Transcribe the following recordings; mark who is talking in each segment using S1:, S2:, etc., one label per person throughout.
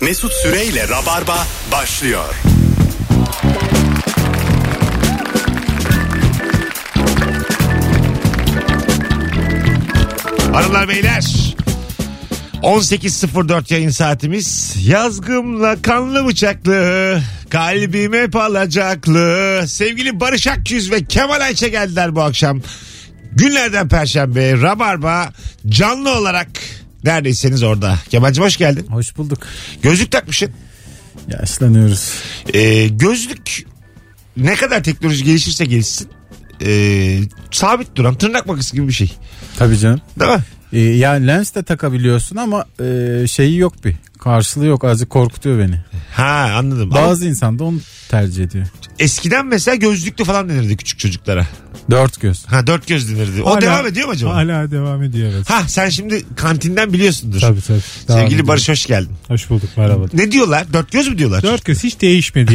S1: Mesut Süreyle Rabarba başlıyor.
S2: Hanımlar beyler 18.04 yayın saatimiz yazgımla kanlı bıçaklı kalbim hep alacaklı sevgili Barış Akyüz ve Kemal Ayça geldiler bu akşam günlerden perşembe Rabarba canlı olarak neredeyseniz orada Kemal'cim hoş geldin
S3: Hoş bulduk.
S2: gözlük takmışsın
S3: Yaşlanıyoruz.
S2: Ee, gözlük ne kadar teknoloji gelişirse gelişsin ee, sabit duran tırnak makası gibi bir şey
S3: Tabii canım.
S2: değil mi?
S3: Ee, yani lens de takabiliyorsun ama e, şeyi yok bir. Karşılığı yok. Azıcık korkutuyor beni.
S2: Ha anladım. Ama-
S3: Bazı insan da onu tercih ediyor.
S2: Eskiden mesela gözlüklü falan denirdi küçük çocuklara.
S3: Dört göz.
S2: Ha dört göz denirdi. O
S3: Hala-
S2: devam ediyor mu acaba?
S3: Hala devam ediyor evet.
S2: Ha sen şimdi kantinden biliyorsundur.
S4: Tabii tabii. Devam
S2: Sevgili
S4: ediyorum.
S2: Barış hoş geldin.
S4: Hoş bulduk merhaba.
S2: Ne diyorlar? Dört göz mü diyorlar?
S4: Dört göz hiç değişmedi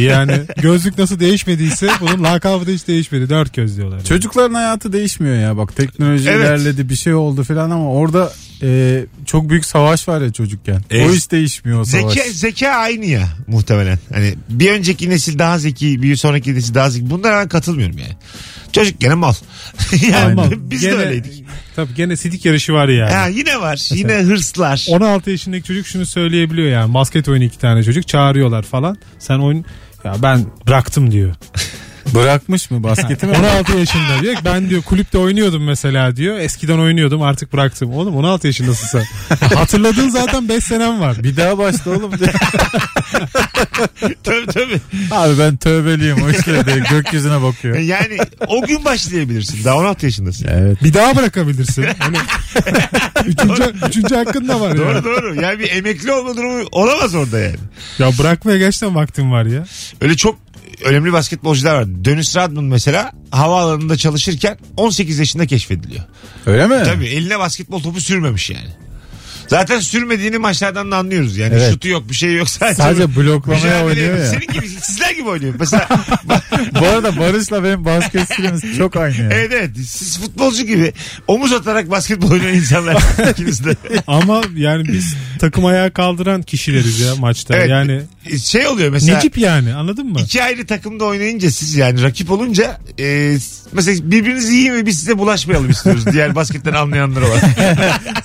S4: yani. Gözlük nasıl değişmediyse bunun lakabı da hiç değişmedi. Dört göz diyorlar.
S3: Çocukların hayatı değişmiyor ya bak teknoloji
S2: Evet.
S3: ilerledi bir şey oldu filan ama orada e, çok büyük savaş var ya çocukken.
S2: Evet.
S3: O hiç değişmiyor o savaş.
S2: E, Zeka, zeka aynı ya muhtemelen. Hani bir önceki nesil daha zeki, bir sonraki nesil daha zeki. Bunlara ben katılmıyorum yani. Çocuk gene mal. yani
S4: Aynen.
S2: biz
S4: Gene-
S2: de öyleydik.
S4: Tabii gene sidik yarışı var yani.
S2: Ha, yine var. Yine hırslar.
S4: 16 yaşındaki çocuk şunu söyleyebiliyor yani. Basket oyunu iki tane çocuk çağırıyorlar falan. Sen oyun ya ben bıraktım diyor.
S3: Bırakmış mı basketi mi?
S4: 16 yaşında diyor ki, ben diyor kulüpte oynuyordum mesela diyor. Eskiden oynuyordum artık bıraktım. Oğlum 16 yaşındasın sen. Hatırladığın zaten 5 senem var.
S3: Bir daha başla oğlum.
S2: tabii tabii.
S3: Abi ben tövbeliyim o işlere de gökyüzüne bakıyor.
S2: Yani o gün başlayabilirsin. Daha 16 yaşındasın.
S3: Evet.
S4: Bir daha bırakabilirsin. Hani, üçüncü, üçüncü hakkın da var yani.
S2: Doğru doğru. Yani bir emekli olma durumu olamaz orada yani.
S4: Ya bırakmaya gerçekten vaktim var ya.
S2: Öyle çok önemli basketbolcular var. Dönüş Radman mesela havaalanında çalışırken 18 yaşında keşfediliyor.
S3: Öyle mi?
S2: Tabii eline basketbol topu sürmemiş yani. Zaten sürmediğini maçlardan da anlıyoruz. Yani
S3: Evet.
S2: şutu yok bir şey yok sadece.
S3: Sadece bloklamaya
S2: mücadele
S3: oynuyor
S2: ediyor.
S3: ya.
S2: Senin gibi sizler gibi oynuyor. Mesela
S3: Bu arada Barış'la benim basket stilimiz çok aynı ya.
S2: evet, evet siz futbolcu gibi omuz atarak basketbol oynayan insanlar ikiniz de.
S4: Ama yani biz takım ayağa kaldıran kişileriz ya maçta.
S2: Evet.
S4: Yani
S2: Şey oluyor mesela.
S4: Necip yani anladın mı?
S2: İki ayrı takımda oynayınca siz yani rakip olunca e, mesela birbirinizi yiyin ve biz size bulaşmayalım istiyoruz. Diğer basketten anlayanlar var.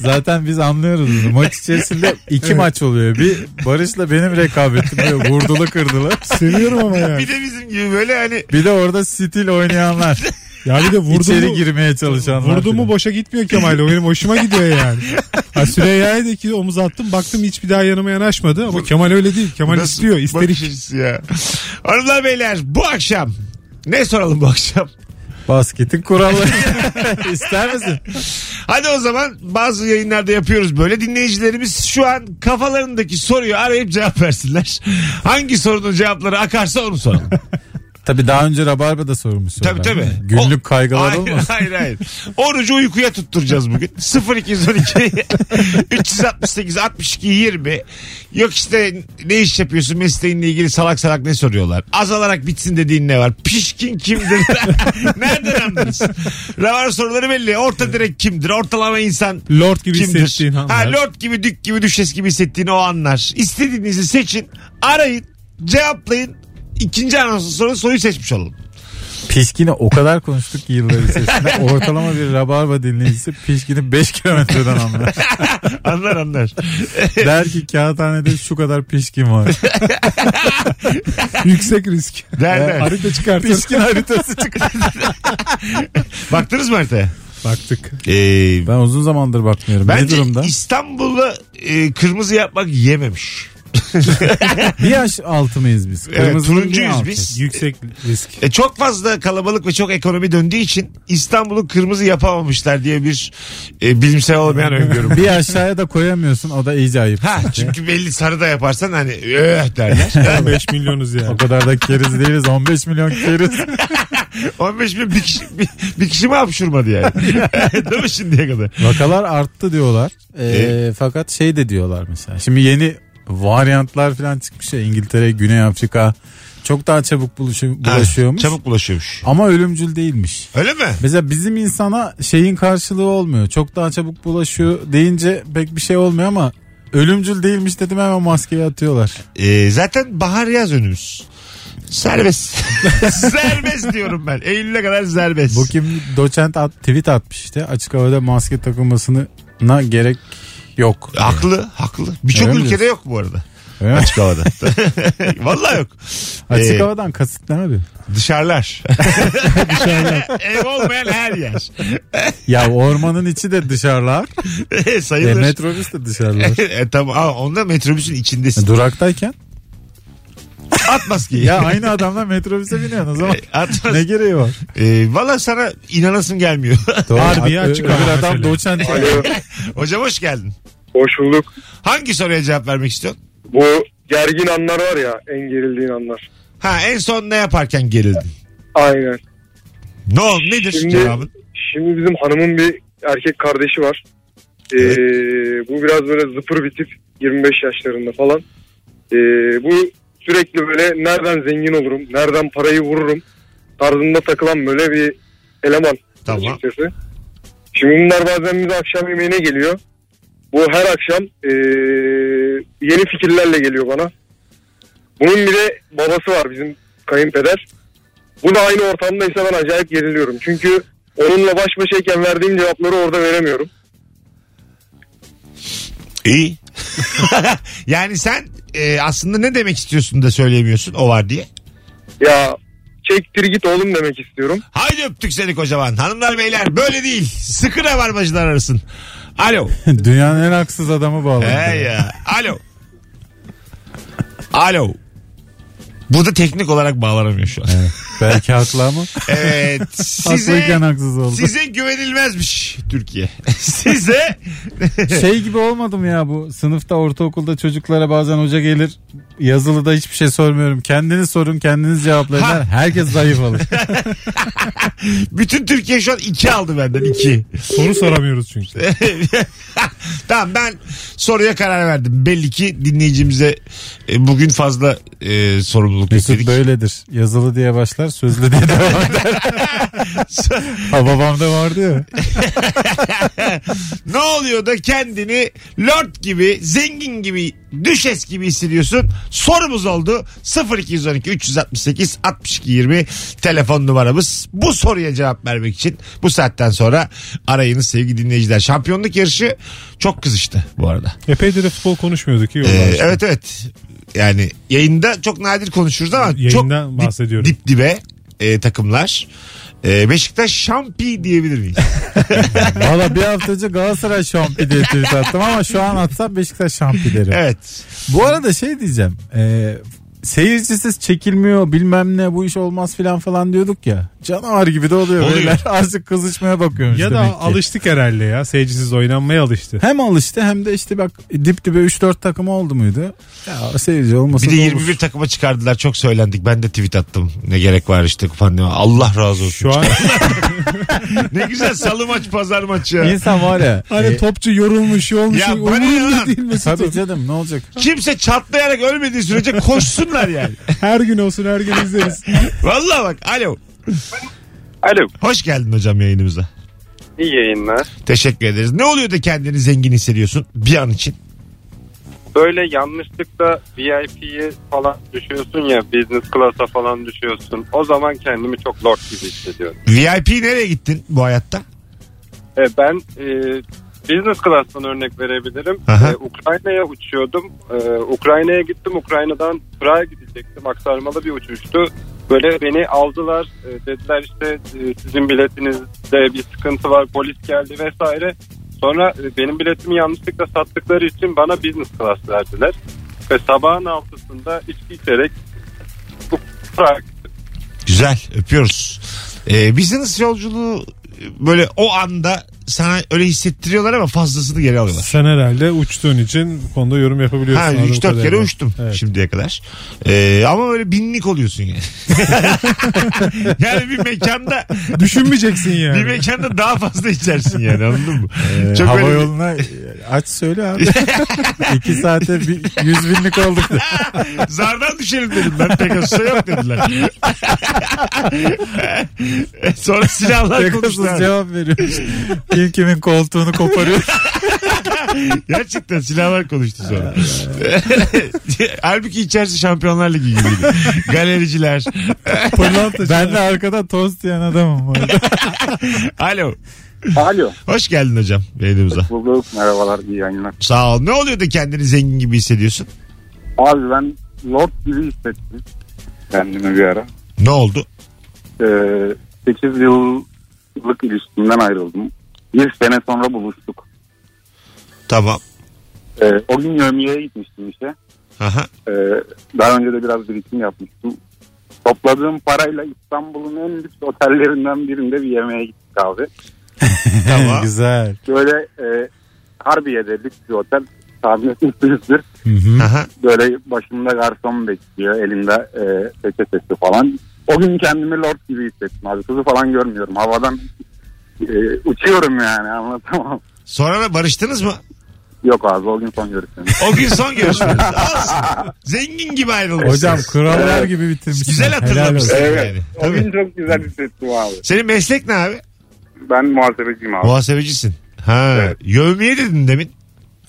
S3: Zaten biz anlıyoruz bunu. Maç içerisinde iki maç oluyor. Bir Barış'la benim rekabetim böyle vurdulu kırdılı.
S4: Seviyorum ama yani.
S2: Bir de bizim gibi böyle hani
S3: Bir de orada stil oynayanlar.
S4: Ya bir de vurdu
S3: içeri
S4: mu,
S3: girmeye çalışanlar.
S4: vurdu mu
S3: filan.
S4: boşa gitmiyor Kemal. O benim hoşuma gidiyor yani. Ha, Süreyya'ya da ki omuz attım baktım hiç bir daha yanıma yanaşmadı. Ama Kemal öyle değil. Kemal
S2: Nasıl
S4: istiyor
S2: bakış
S4: isterik.
S2: açısı ya. Hanımlar beyler bu akşam ne soralım bu akşam?
S3: Basketin kuralları. İster misin?
S2: Hadi o zaman bazı yayınlarda yapıyoruz böyle. Dinleyicilerimiz şu an kafalarındaki soruyu arayıp cevap versinler. Hangi sorunun cevapları akarsa onu soralım.
S3: Tabii daha önce Rabarba'da sorulmuş
S2: Tabii
S3: sorular.
S2: tabii.
S3: Günlük
S2: O-
S3: kaygılar
S2: hayır,
S3: olmaz.
S2: Hayır hayır. Orucu uykuya tutturacağız bugün. 0212 368 62 20. Yok işte ne iş yapıyorsun mesleğinle ilgili salak salak ne soruyorlar. Azalarak bitsin dediğin ne var? Pişkin kimdir? Nereden anlarız? Ravar soruları belli. Orta direk kimdir? Ortalama insan
S4: Lord gibi
S2: kimdir?
S4: hissettiğin anlar.
S2: Ha, lord gibi, dük gibi, düşes gibi hissettiğin o anlar. İstediğinizi seçin. Arayın. Cevaplayın. İkinci anonsun sonra soruyu seçmiş olalım.
S3: Pişkin'i o kadar konuştuk ki yıllar içerisinde. Ortalama bir Rabarba dinleyicisi Pişkin'i 5 kilometreden anlar.
S2: Anlar anlar.
S3: Der ki kağıthanede şu kadar Pişkin var.
S4: Yüksek risk.
S2: Derler.
S4: Harita çıkartır.
S3: Pişkin haritası çıktı.
S2: Baktınız mı haritaya?
S4: Baktık.
S2: Ee,
S3: Ben uzun zamandır bakmıyorum. ne
S2: bence
S3: durumda?
S2: İstanbul'da e, kırmızı yapmak yememiş.
S3: Bir yaş altı mıyız biz?
S2: Evet,
S3: Kırmızının bir
S2: turuncuyuz
S3: altı.
S2: biz.
S4: Yüksek risk.
S2: E, çok fazla kalabalık ve çok ekonomi döndüğü için İstanbul'u kırmızı yapamamışlar diye bir e, bilimsel olmayan öngörüm.
S3: Bir aşağıya da koyamıyorsun o da iyice ayıp.
S2: Ha çünkü belli sarı da yaparsan hani öh derler.
S4: 5 milyonuz yani.
S3: O kadar da keriz değiliz 15 milyon keriz.
S2: 15 bin bir kişi, bir, bir kişi mi hapşurmadı yani? Değil mi şimdiye kadar?
S3: Vakalar arttı diyorlar. Ee,
S2: E?
S3: Fakat şey de diyorlar mesela. Şimdi yeni varyantlar falan çıkmış ya İngiltere, Güney Afrika. Çok daha çabuk buluşu-
S2: Ha,
S3: bulaşıyormuş.
S2: çabuk bulaşıyormuş.
S3: Ama ölümcül değilmiş.
S2: Öyle mi?
S3: Mesela bizim insana şeyin karşılığı olmuyor. Çok daha çabuk bulaşıyor deyince pek bir şey olmuyor ama Ölümcül değilmiş dedim hemen maskeyi atıyorlar.
S2: Ee, zaten bahar yaz önümüz. Serbest. serbest diyorum ben. Eylül'e kadar serbest.
S3: Bu kim doçent at, tweet atmış işte. Açık havada maske takılmasına gerek yok.
S2: Haklı, haklı. Birçok
S3: Öyle mi
S2: ülkede
S3: diyorsun?
S2: yok bu arada.
S3: Öyle mi?
S2: Açık havada. Vallahi yok.
S3: Açık
S2: Ee,
S3: havadan kasıt ne abi?
S2: Dışarılar. Ev olmayan her yer.
S3: Ya ormanın içi de dışarılar. e,
S2: Sayılır.
S3: metrobüs de dışarılar.
S2: e, tamam ama onda metrobüsün içindesin.
S3: Duraktayken
S2: At maskeyi.
S3: ya aynı adamla metrobüse biniyorsun o zaman.
S2: E, At
S3: ne gereği var?
S2: e, Valla sana inanasım gelmiyor.
S3: Doğru.
S4: Harbi ya,
S3: Ö-
S4: açık
S3: öbür
S4: hava
S3: adam
S4: mesele.
S3: doçent.
S5: Alo.
S2: Hocam hoş geldin.
S5: Hani Hoş bulduk.
S2: Hangi soruya cevap vermek istiyorsun?
S5: Bu gergin anlar var ya en gerildiğin anlar.
S2: Ha en son ne yaparken gerildin?
S5: Aynen.
S2: Ne oldu nedir
S5: Şimdi-
S2: cevabın?
S5: Şimdi bizim hanımın bir erkek kardeşi var. Ee, Bu biraz böyle zıpır bir tip. 25 yaşlarında falan. Ee, bu sürekli böyle nereden zengin olurum, nereden parayı vururum tarzında takılan böyle bir eleman.
S2: Tamam.
S5: Açıkçası. Şimdi bunlar bazen bize akşam yemeğine geliyor. Bu her akşam ee, yeni fikirlerle geliyor bana. Bunun bir de babası var bizim kayınpeder. Bu da aynı ortamdaysa ben acayip geriliyorum. Çünkü onunla baş başayken verdiğim cevapları orada veremiyorum.
S2: İyi. yani sen e, aslında ne demek istiyorsun da söyleyemiyorsun o var diye.
S5: Ya çektir git oğlum demek istiyorum.
S2: Haydi öptük seni kocaman. Hanımlar beyler böyle değil. Sıkı rabarbacılar arasın. Alo.
S3: Dünyanın en haksız adamı bağladı.
S2: He ya. Alo. Alo. Burada teknik olarak bağlanamıyor şu an. Evet.
S3: Belki haklı ama haklıyken
S2: size,
S3: haksız oldu.
S2: size güvenilmezmiş Türkiye. size
S3: Şey gibi olmadı mı ya bu sınıfta ortaokulda çocuklara bazen hoca gelir yazılıda hiçbir şey sormuyorum. Kendiniz sorun kendiniz cevaplayın.
S2: Ha.
S3: Herkes zayıf alır.
S2: bütün Türkiye şu an iki aldı benden iki.
S4: Soru soramıyoruz çünkü.
S2: tamam ben soruya karar verdim. Belli ki dinleyicimize e, bugün fazla e, sorumluluk
S3: Mesut
S2: yükledik.
S3: böyledir. Yazılı diye başlar sözlü diye devam eder. ha babamda vardı ya.
S2: Ne oluyor da kendini lord gibi, zengin gibi, düşes gibi hissediyorsun? Sorumuz oldu. 0212 368 62 20 telefon numaramız. Bu soruya cevap vermek için bu saatten sonra arayınız sevgili dinleyiciler. Şampiyonluk yarışı çok kızıştı bu arada.
S4: Epeydir de futbol konuşmuyorduk iyi oldu.
S2: Ee,
S4: aslında.
S2: evet evet. Yani yayında çok nadir konuşuruz ama
S4: Yayından
S2: çok
S4: bahsediyorum.
S2: Dip, dip dibe e, takımlar. E, Beşiktaş şampi diyebilir miyiz?
S3: Valla bir hafta önce Galatasaray şampi diye tweet attım ama şu an atsam Beşiktaş şampi derim.
S2: evet.
S3: Bu arada şey diyeceğim. E, seyircisiz çekilmiyor bilmem ne bu iş olmaz filan falan diyorduk ya. Canavar gibi de oluyor.
S2: Oluyor.
S3: Beyler azıcık kızışmaya bakıyormuş
S4: Ya
S3: demek ki.
S4: da alıştık herhalde ya. Seyircisiz oynanmaya alıştı.
S3: Hem alıştı hem de işte bak dip dibe 3-4 takım oldu muydu? Ya seyirci olmasa
S2: Bir de
S3: da
S2: 21
S3: olur.
S2: takıma çıkardılar. Çok söylendik. Ben de tweet attım. Ne gerek var işte pandemi. Allah razı olsun.
S4: Şu an
S2: ne güzel salı maç pazar maçı. ya.
S3: İnsan var ya. e,
S4: hani topçu yorulmuş, yorulmuş.
S2: Ya bana ne lan?
S4: umurumda değil Mesut.
S3: Tabii canım ne olacak?
S2: Kimse çatlayarak ölmediği sürece koşsunlar yani.
S4: Her gün olsun her gün izleriz.
S2: Vallahi bak. Alo.
S6: Alo.
S2: Hoş geldin hocam yayınımıza.
S6: İyi yayınlar.
S2: Teşekkür ederiz. Ne oluyor da kendini zengin hissediyorsun bir an için?
S6: Böyle yanlışlıkla VIP'ye falan düşüyorsun ya business class'a falan düşüyorsun. O zaman kendimi çok lord gibi hissediyorum.
S2: VIP nereye gittin bu hayatta?
S6: E, ben e, business class'tan örnek verebilirim.
S2: Aha.
S6: E, Ukrayna'ya uçuyordum. E, Ukrayna'ya gittim. Ukrayna'dan Prag'a gidecektim. Aksarmalı bir uçuştu. Böyle beni aldılar. E, dediler işte e, sizin biletinizde bir sıkıntı var. Polis geldi vesaire. Sonra e, benim biletimi yanlışlıkla sattıkları için bana business class verdiler. Ve sabahın altısında içki içerek Prag
S2: Güzel öpüyoruz. Ee, business yolculuğu böyle o anda sana öyle hissettiriyorlar ama fazlasını geri alıyorlar.
S4: Sen herhalde uçtuğun için bu konuda yorum yapabiliyorsun.
S2: Ha
S4: anladığım
S2: 3-4 kere
S4: kadarıyla.
S2: uçtum
S4: Evet.
S2: şimdiye kadar. Ee, ama böyle binlik oluyorsun yani. yani bir mekanda
S4: Düşünmeyeceksin yani. Ee,
S2: bir mekanda daha fazla içersin yani anladın mı?
S3: E,
S2: Çok
S3: hava
S2: öyle bir-
S3: yoluna e, aç söyle abi. 2 saate bir, 100 binlik olduk. da.
S2: Zardan düşelim dedim ben. Pegasus'a yok dediler. Sonra silahlar
S3: Pegasus
S2: konuştu.
S3: cevap veriyor. Kim kimin koltuğunu koparıyor.
S2: Gerçekten silahlar konuştu sonra. Halbuki içerisi Şampiyonlar Ligi gibiydi. Galericiler.
S3: ben de arkada tost yiyen adamım. bu arada.
S2: Alo.
S7: Alo.
S2: Hoş geldin hocam yayınımıza.
S7: Bulduk. Merhabalar. iyi yayınlar.
S2: Sağ ol. Ne oluyor da kendini zengin gibi hissediyorsun?
S7: Abi ben Lord gibi hissettim. Kendimi bir ara.
S2: Ne oldu?
S7: Ee, 8 yıllık ilişkimden ayrıldım. Bir sene sonra buluştuk.
S2: Tamam.
S7: Ee, o gün yövmiyeye gitmiştim işe.
S2: Aha.
S7: Ee, daha önce de biraz birikim yapmıştım. Topladığım parayla İstanbul'un en lüks otellerinden birinde bir yemeğe gittik abi.
S2: Tamam.
S3: Güzel.
S7: Böyle e, Harbiye'de lüks bir otel tahmin etmişsinizdir.
S2: Aha.
S7: Böyle başımda garson bekliyor elinde e, peçe sesi falan. O gün kendimi lord gibi hissettim abi. Kızı falan görmüyorum. Havadan e, uçuyorum yani anlatamam.
S2: Sonra da barıştınız mı?
S7: Yok abi o gün son görüşmemiz.
S2: O gün son görüşmeniz. Az. Zengin gibi ayrılmışsınız.
S3: Hocam krallar gibi bitirmişsin.
S2: Güzel hatırlamışsın
S3: Helal olsun.
S2: yani. Tabii.
S7: çok güzel hissettim abi.
S2: Senin meslek ne abi?
S7: Ben muhasebeciyim abi.
S2: Muhasebecisin. Ha.
S7: Evet.
S2: Yövmiye dedin demin.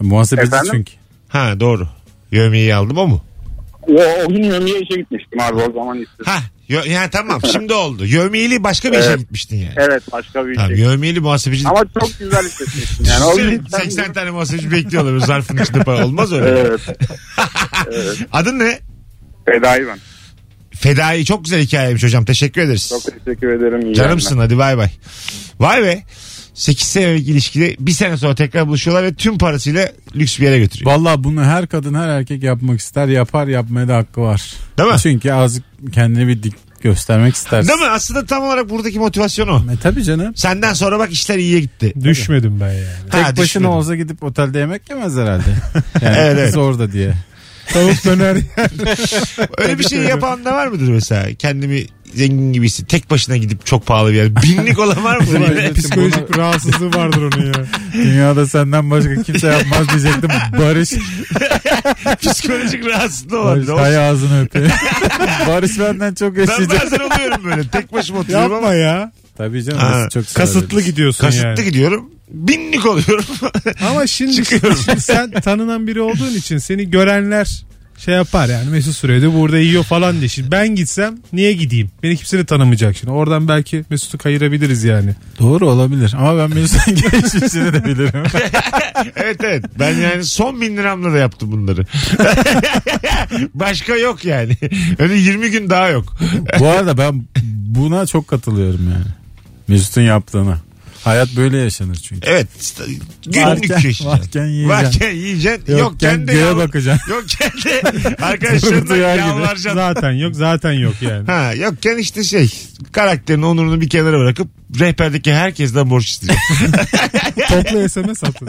S3: Muhasebeci
S7: Efendim?
S3: çünkü.
S2: Ha doğru. Yövmiyeyi aldım o mu?
S7: O, o gün yömiye işe gitmiştim abi o zaman istedim.
S2: Ha. Yö- ya tamam şimdi oldu. Yövmiyeli başka bir işe
S7: Evet.
S2: gitmiştin yani.
S7: Evet başka bir
S2: Tamam
S7: şey.
S2: yövmiyeli muhasebeci.
S7: Ama çok güzel hissetmiştim yani. O gün
S2: Düşünsene, 80 tane muhasebeci bekliyorlar böyle zarfın içinde para. Olmaz öyle.
S7: Evet.
S2: Adın ne?
S7: Fedai ben.
S2: Fedai çok güzel hikayeymiş hocam. Teşekkür ederiz.
S7: Çok teşekkür ederim. iyi
S2: Canımsın hadi bay bay. Vay be. 8 senelik ilişkide bir sene sonra tekrar buluşuyorlar ve tüm parasıyla lüks bir yere götürüyor.
S3: Valla bunu her kadın her erkek yapmak ister. Yapar yapmaya da hakkı var.
S2: Değil mi?
S3: Çünkü azıcık kendini bir dik göstermek istersin.
S2: Değil mi? Aslında tam olarak buradaki motivasyon o.
S3: E tabii canım.
S2: Senden sonra bak işler iyiye gitti.
S4: Düşmedim ben yani.
S3: Tek
S2: Ha,
S3: başına
S2: düşmedim.
S3: olsa gidip otelde yemek yemez herhalde. Yani
S2: Evet, evet.
S3: kız orada diye.
S4: Tavuk döner.
S2: Öyle bir şey yapan da var mıdır mesela? Kendimi zengin gibi hisset- Tek başına gidip çok pahalı bir yer. Binlik olan var mıdır yine?
S4: Psikolojik bir rahatsızlığı vardır onun ya.
S3: Dünyada senden başka kimse yapmaz diyecektim. Barış,
S2: Psikolojik rahatsızlığı
S3: Barış
S2: olan.
S3: hay ağzını öpüyor. Barış benden çok
S2: Ben
S3: yaşayacak.
S2: bazen oluyorum böyle. Tek başıma oturuyorum ama
S4: Yapma ya.
S3: Tabii canım.
S2: Ha,
S3: nasıl çok sever
S4: Kasıtlı
S3: öyle.
S4: gidiyorsun
S2: kasıtlı
S4: yani.
S2: gidiyorum. Binlik oluyorum.
S4: Ama şimdi, şimdi sen tanınan biri olduğun için seni görenler şey yapar yani Mesut Süre'de burada yiyor falan diye. Şimdi ben gitsem niye gideyim? Beni kimse de tanımayacak şimdi. Oradan belki Mesut'u kayırabiliriz yani.
S3: Doğru olabilir ama ben Mesut'un geçmişini de bilirim.
S2: evet evet. Ben yani son bin liramla da yaptım bunları. Başka yok yani. Öyle 20 gün daha yok.
S3: Bu arada ben buna çok katılıyorum yani. Mesut'un yaptığına. Hayat böyle yaşanır çünkü.
S2: Evet. Günlük
S3: Varken-
S2: yaşayacaksın.
S3: varken yiyeceksin.
S2: Varken yiyeceksin. Yok kendi
S3: göğe
S2: yavru-
S3: bakacaksın.
S2: Yok kendi
S3: Fırtına
S2: arkadaşlarına
S3: yer gibi.
S2: yalvaracaksın.
S4: Zaten yok zaten yok yani.
S2: Ha yokken işte şey karakterini onurunu bir kenara bırakıp rehberdeki herkesten borç istiyor.
S4: Toplu SMS atın.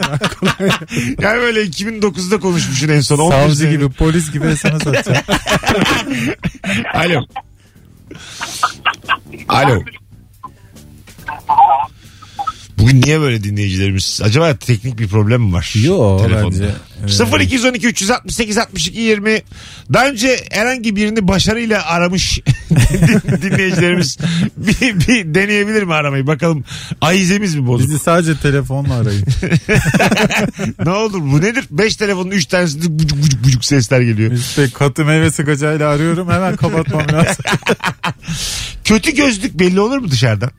S2: yani böyle 2009'da konuşmuşsun en son. 11
S3: Savcı
S2: sene-
S3: gibi polis gibi sana satacağım.
S2: Alo. Alo. Bugün niye böyle dinleyicilerimiz? Acaba teknik bir problem mi var?
S3: Yo,
S2: telefonda?
S3: bence, evet.
S2: 0212 368 62 20 Daha önce herhangi birini başarıyla aramış din- dinleyicilerimiz bir, bir deneyebilir mi aramayı? Bakalım ahizemiz mi bozuk?
S3: Bizi sadece telefonla arayın.
S2: ne olur bu nedir? 5 telefonun 3 tanesinde bucuk bucuk bucuk sesler geliyor.
S3: İşte katı meyve sıkacağıyla arıyorum hemen kapatmam lazım.
S2: Kötü gözlük belli olur mu dışarıdan?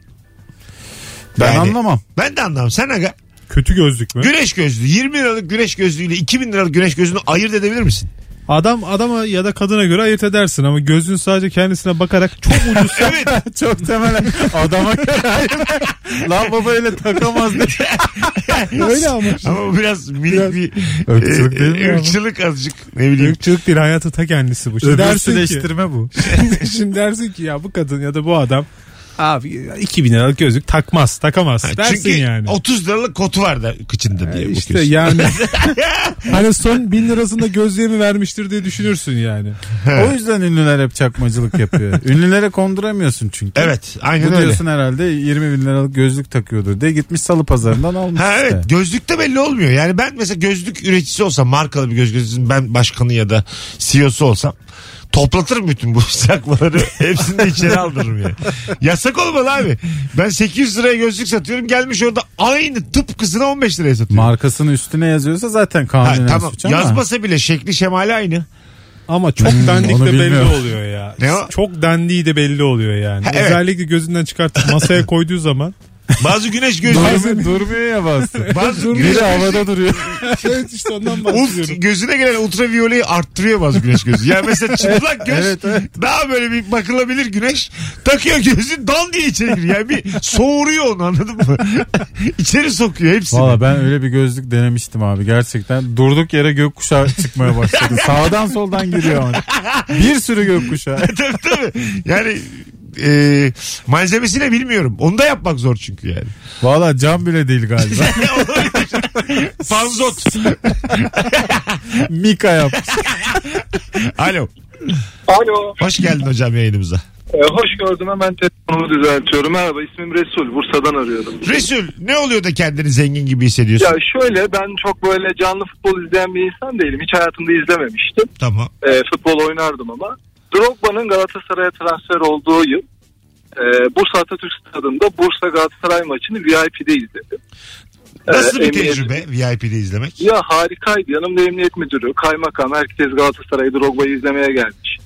S3: Ben
S2: Yani-
S3: anlamam.
S2: Ben de anlamam. Sen aga.
S4: Kötü gözlük mü?
S2: Güneş gözlüğü 20 liralık güneş gözlüğüyle 2000 liralık güneş gözlüğünü ayırt edebilir misin?
S4: Adam adama ya da kadına göre ayırt edersin ama gözün sadece kendisine bakarak çok ucuz.
S2: Evet.
S3: Çok temelen adama göre hayır. Lan baba öyle takamaz diye.
S4: Öyle ama.
S2: Ama bu biraz minik
S4: Biraz
S2: bir
S3: ırkçılık
S2: e,
S3: değil mi ama?
S2: ırkçılık azıcık ne bileyim.
S4: Büyükçülük değil hayatı ta kendisi bu. Şimdi dersin, ki,
S3: Öbürsüleştirme bu.
S4: şimdi dersin ki ya bu kadın ya da bu adam abi 2000 liralık gözlük takmaz takamaz dersin
S2: Çünkü
S4: yani.
S2: 30 liralık kotu var da kıçında
S3: E,
S2: diye
S4: İşte
S2: bakıyorsun.
S4: yani hani son bin lirasını da gözlüğe mi vermiştir diye düşünürsün yani.
S3: O yüzden ünlüler hep çakmacılık yapıyor. Ünlülere konduramıyorsun çünkü.
S2: Evet aynen
S3: Bu
S2: öyle.
S3: diyorsun herhalde 20 bin liralık gözlük takıyordur diye gitmiş salı pazarından almış
S2: Ha
S3: işte.
S2: evet gözlükte belli olmuyor. Yani ben mesela gözlük üreticisi E olsam markalı bir gözlük üreticisi ben başkanı ya da CEO'su olsam Toplatırım bütün bu saklaları. Hepsini de içeri aldırırım yani. Yasak olmalı abi. Ben 800 liraya gözlük satıyorum. Gelmiş orada aynı tıpkısını 15 liraya satıyor.
S3: Markasının üstüne yazıyorsa zaten
S2: Ha,
S3: kanunen
S2: tamam.
S3: suç ama.
S2: Yazmasa bile şekli şemali aynı.
S4: Ama çok
S3: Hmm,
S4: dendik
S3: onu
S4: de belli
S3: bilmiyorum.
S4: oluyor ya.
S2: Ne o?
S4: Çok dendiği de belli oluyor yani.
S2: Ha, evet.
S4: Özellikle gözünden çıkartıp masaya koyduğu zaman.
S2: Bazı güneş gözlüğü.
S3: Durmuyor, durmuyor ya bastı.
S2: bazı
S3: Biri
S2: güneş
S3: de havada duruyor.
S4: evet işte ondan
S2: Ult, gözüne gelen ultraviyoleyi arttırıyor bazı güneş gözü. Yani mesela çıplak göz
S3: Evet, evet.
S2: daha böyle bir bakılabilir güneş. Takıyor gözü dal diye içeri giriyor. Yani bir soğuruyor onu anladın mı? içeri sokuyor hepsini.
S3: Valla ben öyle bir gözlük denemiştim abi gerçekten. Durduk yere gökkuşağı çıkmaya başladı. Sağdan soldan giriyor ama. Bir sürü gökkuşağı.
S2: tabii tabii. Yani e, malzemesini bilmiyorum. Onu da yapmak zor çünkü yani.
S3: Valla cam bile değil galiba.
S2: Panzot.
S3: Mika yapmış.
S2: Alo.
S5: Alo.
S2: Hoş geldin hocam yayınımıza.
S5: E, hoş gördüm hemen telefonumu düzeltiyorum. Merhaba ismim Resul. Bursa'dan arıyorum.
S2: Resul ne oluyor da kendini zengin gibi hissediyorsun?
S5: Ya şöyle ben çok böyle canlı futbol izleyen bir insan değilim. Hiç hayatımda izlememiştim.
S2: Tamam.
S5: E, futbol oynardım ama. Drogba'nın Galatasaray'a transfer olduğu yıl e, Bursa Atatürk Stadı'nda Bursa Galatasaray maçını VIP'de izledim.
S2: Nasıl bir
S5: Ee, emniyet-
S2: tecrübe VIP'de izlemek?
S5: Ya harikaydı. Yanımda emniyet müdürü, kaymakam, herkes Galatasaray'ı Drogba'yı izlemeye gelmiş.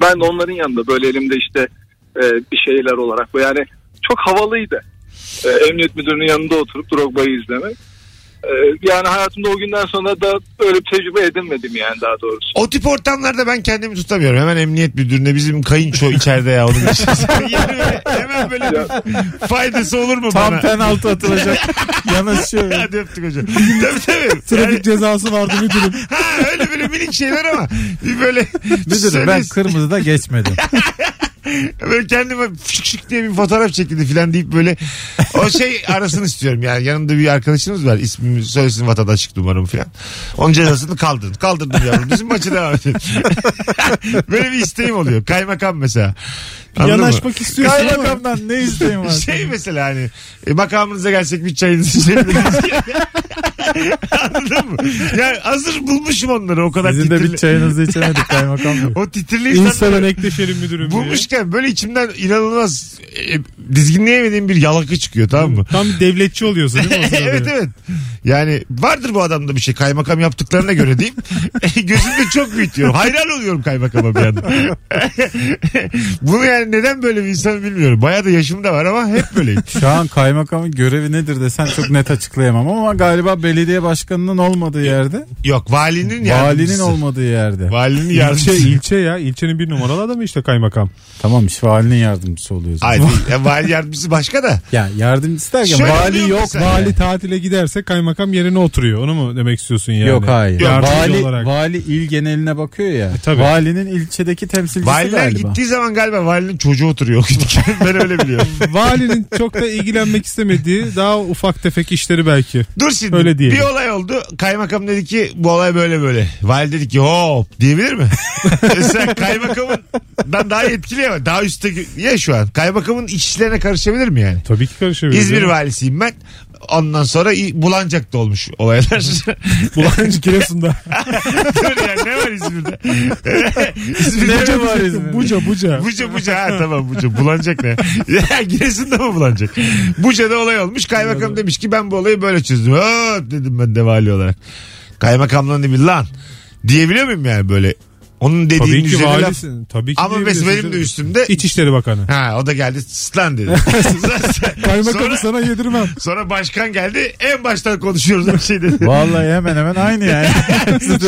S5: Ben de onların yanında böyle elimde işte e, bir şeyler olarak. bu. Yani çok havalıydı. E, emniyet müdürünün yanında oturup Drogba'yı izlemek. E, yani hayatımda o günden sonra da öyle bir tecrübe edinmedim yani daha doğrusu.
S2: O tip ortamlarda ben kendimi tutamıyorum. Hemen emniyet müdürüne bizim kayınço içeride ya. Onu şey yani böyle, hemen böyle bir faydası olur mu
S3: Tam
S2: bana?
S3: penaltı atılacak. Yanaşıyor.
S2: Hadi öptük hocam. tabii tabii. Yani,
S4: Trafik cezası vardı müdürüm.
S2: ha, öyle böyle minik şeyler ama bir böyle
S3: Müdürüm ben
S2: söyleyeyim.
S3: kırmızıda geçmedim.
S2: Böyle kendime şık şık diye bir fotoğraf çekildi filan deyip böyle o şey arasını istiyorum yani yanımda bir arkadaşımız var ismimi söylesin vatandaşlık numaramı filan. Onun cezasını kaldırın. Kaldırdım yavrum. Bizim maçı devam edin. böyle bir isteğim oluyor. Kaymakam mesela. Anladın mı?
S4: Yanaşmak istiyorsun ama.
S3: Kaymakamdan ne isteğim var?
S2: Şey mesela hani e, makamınıza gelsek bir çayınızı içelim. Anladın mı? Yani hazır bulmuşum onları o kadar
S3: Sizin de
S2: titrili.
S3: bir çayınızı içemedik kaymakam bey.
S2: O titrili insanları-
S4: İnsana ekleşelim müdürüm diye.
S2: Bulmuşken böyle içimden inanılmaz e, dizginleyemediğim bir yalaka çıkıyor tamam mı?
S4: Tam devletçi oluyorsun değil mi? o sırada?
S2: evet evet. Yani vardır bu adamda bir şey kaymakam yaptıklarına göre diyeyim. Gözümde çok büyütüyorum. Hayran oluyorum kaymakama bir anda. Bunu yani neden böyle bir insan bilmiyorum. Bayağı da yaşım da var ama hep böyleyim.
S3: Şu an kaymakamın görevi nedir desen çok net açıklayamam ama galiba belediye başkanının olmadığı yerde,
S2: Yok valinin
S3: valinin
S2: yardımcısı.
S3: olmadığı yerde.
S2: Valinin
S4: İlçe,
S2: yardımcısı.
S4: ilçe ya. İlçenin bir numaralı adamı işte kaymakam.
S3: Tamam işte valinin yardımcısı oluyor zaten.
S2: Hayır, değil. Ya, vali yardımcısı başka da.
S3: Ya yardımcısı derken
S2: Şöyle
S3: vali
S2: oluyor
S3: yok.
S2: mesela.
S3: vali
S4: Vali tatile giderse kaymakam yerine oturuyor. Onu mu demek istiyorsun yani?
S3: Yok hayır.
S4: Yardımcı
S3: vali,
S4: olarak.
S3: vali il geneline bakıyor ya.
S4: E, tabii.
S3: Valinin ilçedeki temsilcisi
S2: Valiler
S3: galiba.
S2: gittiği zaman galiba valinin çocuğu oturuyor. ben öyle biliyorum.
S4: Valinin çok da ilgilenmek istemediği daha ufak tefek işleri belki.
S2: Dur şimdi.
S4: Öyle diyelim.
S2: Bir olay oldu. Kaymakam dedi ki bu olay böyle böyle. Vali dedi ki hop diyebilir mi? Sen kaymakamından daha yetkili ama daha üstte ya şu an. Kaymakamın iç işlerine karışabilir mi yani?
S4: Tabii ki karışabilir.
S2: İzmir valisiyim ben. Ondan sonra İ- Bulancak'ta olmuş olaylar.
S4: Bulancı Giresun'da.
S2: Böyle yani ne var İzmir'de? İzmir'de
S3: Nece var İzmir'de?
S4: Buca buca.
S2: Buca buca ha tamam buca bulanacak ne? Ya Giresun'da mı bulanacak? Buca'da olay olmuş kaymakam demiş ki ben bu olayı böyle çözdüm. Hop dedim ben de vali olarak. Kaymakamdan bir lan diyebiliyor muyum yani böyle? Onun
S4: Tabii
S2: dediğinin
S4: ki
S2: üzerine laf.
S4: valisin. Tabii ki
S2: Ama
S4: diyebilirsin
S2: mesela benim
S4: canım.
S2: de üstümde
S4: İçişleri Bakanı.
S2: Ha o da geldi slan dedi.
S4: Kaymakamı
S2: sonra,
S4: sana yedirmem.
S2: sonra başkan geldi en baştan konuşuyoruz her şey dedi.
S3: Vallahi hemen hemen aynı yani.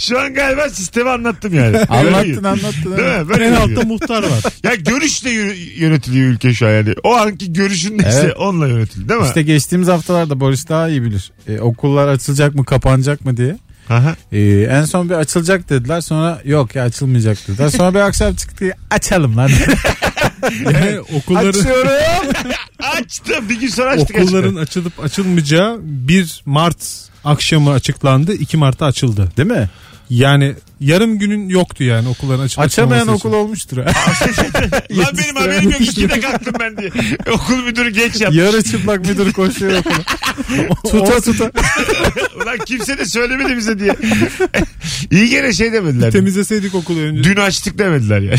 S2: Şu an galiba sistemi anlattım yani.
S3: anlattın
S2: Öyle.
S3: anlattın.
S2: Değil mi? Böyle
S4: En
S2: yürüyor.
S4: altta muhtar var.
S2: Ya görüşle yürü- yönetiliyor ülke şu an yani. O anki görüşün neyse
S3: Evet.
S2: onunla yönetiliyor değil mi?
S3: İşte geçtiğimiz haftalarda Barış daha iyi bilir. E, okullar açılacak mı kapanacak mı diye.
S2: Aha.
S3: E, en son bir açılacak dediler sonra yok ya açılmayacak dediler. Sonra bir akşam çıktı açalım lan.
S4: Yani okulların,
S3: Açıyorum.
S2: Açtı bir gün sonra açtık.
S4: okulların açılıp açılmayacağı 1 Mart akşamı açıklandı. 2 Mart'ta açıldı.
S3: Değil mi?
S4: Yani yarım günün yoktu yani okulların açılması.
S3: Açamayan okul olmuştur.
S2: Lan benim haberim yok. İkide kalktım ben diye. Okul müdürü geç yaptı.
S3: Yarı çıplak müdür koşuyor okula. tuta tuta.
S2: Ulan kimse de söylemedi bize diye. İyi gene şey demediler.
S4: Temizleseydik okulu önce.
S2: Dün açtık demediler ya.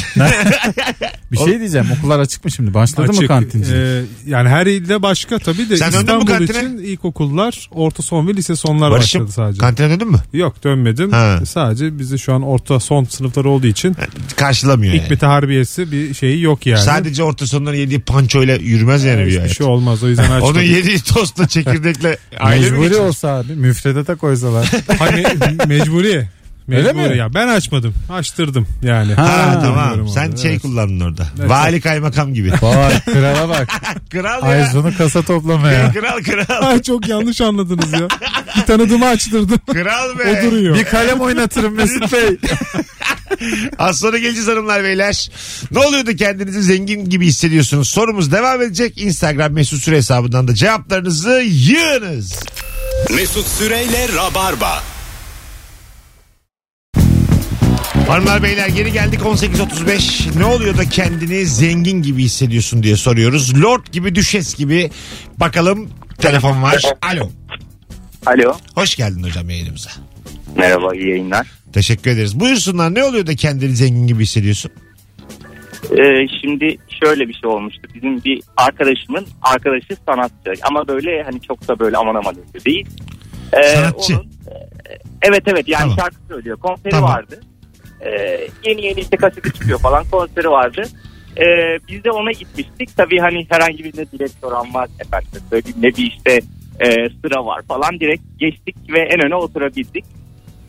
S3: Bir şey diyeceğim okullar açık mı şimdi? Başladı mı
S4: Açık.
S3: kantinci?
S4: Ee, yani her ilde başka tabii de
S2: Sen döndün mü
S4: İstanbul
S2: kantine?
S4: için ilkokullar, orta son ve lise sonlar
S2: Barış'ım
S4: başladı sadece.
S2: kantine döndün mü?
S4: Yok dönmedim.
S2: Ha.
S4: Sadece bizde şu an orta son sınıflar olduğu için
S2: Karşılamıyor yani.
S4: hikmeti harbiyesi bir şeyi yok yani.
S2: Sadece orta sonların yediği pançoyla yürümez yani bir
S4: Hiçbir
S2: hayat.
S4: şey olmaz o yüzden
S2: Onun
S4: açmadım.
S2: yediği tostla çekirdekle aile mi
S3: Mecburi
S2: geçiyor?
S3: olsa abi müfredata koysalar.
S4: Hani mecburi.
S3: Öyle
S4: Mecburi
S3: mi?
S4: ya ben açmadım. Açtırdım yani.
S2: Ha,
S3: Ha,
S2: tamam.
S4: bilmiyorum
S2: Sen
S4: onu,
S2: şey
S4: evet.
S2: kullandın orada. Vali kaymakam gibi.
S4: Ee,
S3: Vay krala bak.
S2: kral ya.
S3: Ayzun'u kasa toplamaya.
S2: Kral kral.
S4: Ay çok yanlış anladınız ya. Bir tanıdığımı açtırdım.
S2: Kral
S4: o
S2: be.
S4: duruyor.
S3: Bir kalem oynatırım Mesut Bey.
S2: Az sonra geleceğiz hanımlar beyler. Ne oluyordu kendinizi zengin gibi hissediyorsunuz? Sorumuz devam edecek. Instagram mesut süre hesabından da cevaplarınızı yığınız.
S1: Mesut Süreyle Rabarba.
S2: Hanımlar beyler geri geldik 18.35. Ne oluyor da kendini zengin gibi hissediyorsun diye soruyoruz. Lord gibi düşes gibi. Bakalım telefon var. Alo.
S7: Alo.
S2: Hoş geldin hocam yayınımıza.
S7: Merhaba iyi yayınlar.
S2: Teşekkür ederiz. Buyursunlar ne oluyor da kendini zengin gibi hissediyorsun?
S7: Ee, şimdi şöyle bir şey olmuştu. Bizim bir arkadaşımın arkadaşı sanatçı ama böyle hani çok da böyle aman aman ünlü değil. Ee,
S2: Sanatçı.
S7: onun- e, evet evet yani
S2: Tamam.
S7: şarkı söylüyor. Konseri
S2: Tamam.
S7: vardı. Ee, yeni yeni işte kaseti çıkıyor falan konseri vardı. Ee, biz de ona gitmiştik. Tabii hani herhangi bir ne bilet soran var efendim söyleyeyim ne bir işte e, sıra var falan direkt geçtik ve en öne oturabildik.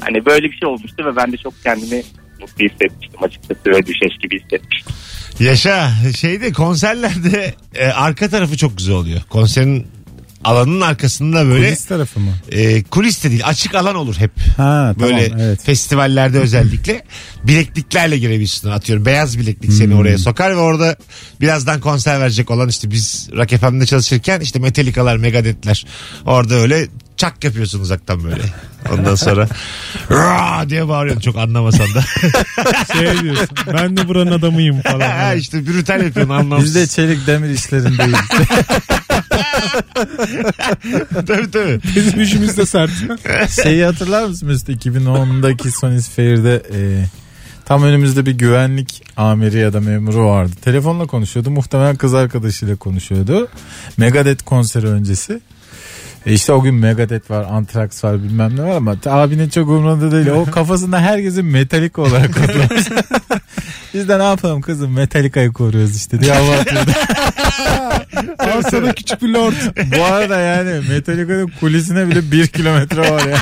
S7: Hani böyle bir şey olmuştu ve ben de çok kendimi mutlu hissetmiştim açıkçası ve düşeş gibi hissetmiştim.
S2: Yaşa şeyde konserlerde e, arka tarafı çok güzel oluyor. Konserin alanın arkasında böyle
S3: Polis tarafı mı?
S2: e, kulis de değil açık alan olur hep.
S3: Ha tamam
S2: Böyle
S3: evet.
S2: festivallerde özellikle bilekliklerle girebilirsin. Atıyorum beyaz bileklik seni
S3: Hmm.
S2: oraya sokar ve orada birazdan konser verecek olan işte biz Rock FM'de çalışırken işte Metallica'lar, Megadeth'ler orada öyle çak yapıyorsun uzaktan böyle. Ondan sonra "Raa!" diye bağırıyorsun çok anlamasan da.
S4: Şey diyorsun. Ben de buranın adamıyım
S2: Ha,
S4: falan.
S2: işte brutal yapıyorsun
S3: Biz de
S2: anlamsız.
S3: çelik demir işlerindeyiz.
S2: tabii tabii.
S4: Bizim işimiz de sert.
S3: Şeyi hatırlar mısın Mesut? 2010'daki Sonis Fair'de e, tam önümüzde bir güvenlik amiri ya da memuru vardı. Telefonla konuşuyordu. Muhtemelen kız arkadaşıyla konuşuyordu. Megadeth konseri öncesi. E işte o gün Megadeth var, Anthrax var bilmem ne var ama t- abinin çok umurunda değil. O kafasında herkesi metalik olarak kodlamış. Biz de ne yapalım kızım Metallica'yı koruyoruz işte diye hava atıyordu.
S4: Arsada küçük bir lord.
S3: Bu arada yani Metallica'nın kulisine bile bir kilometre var ya.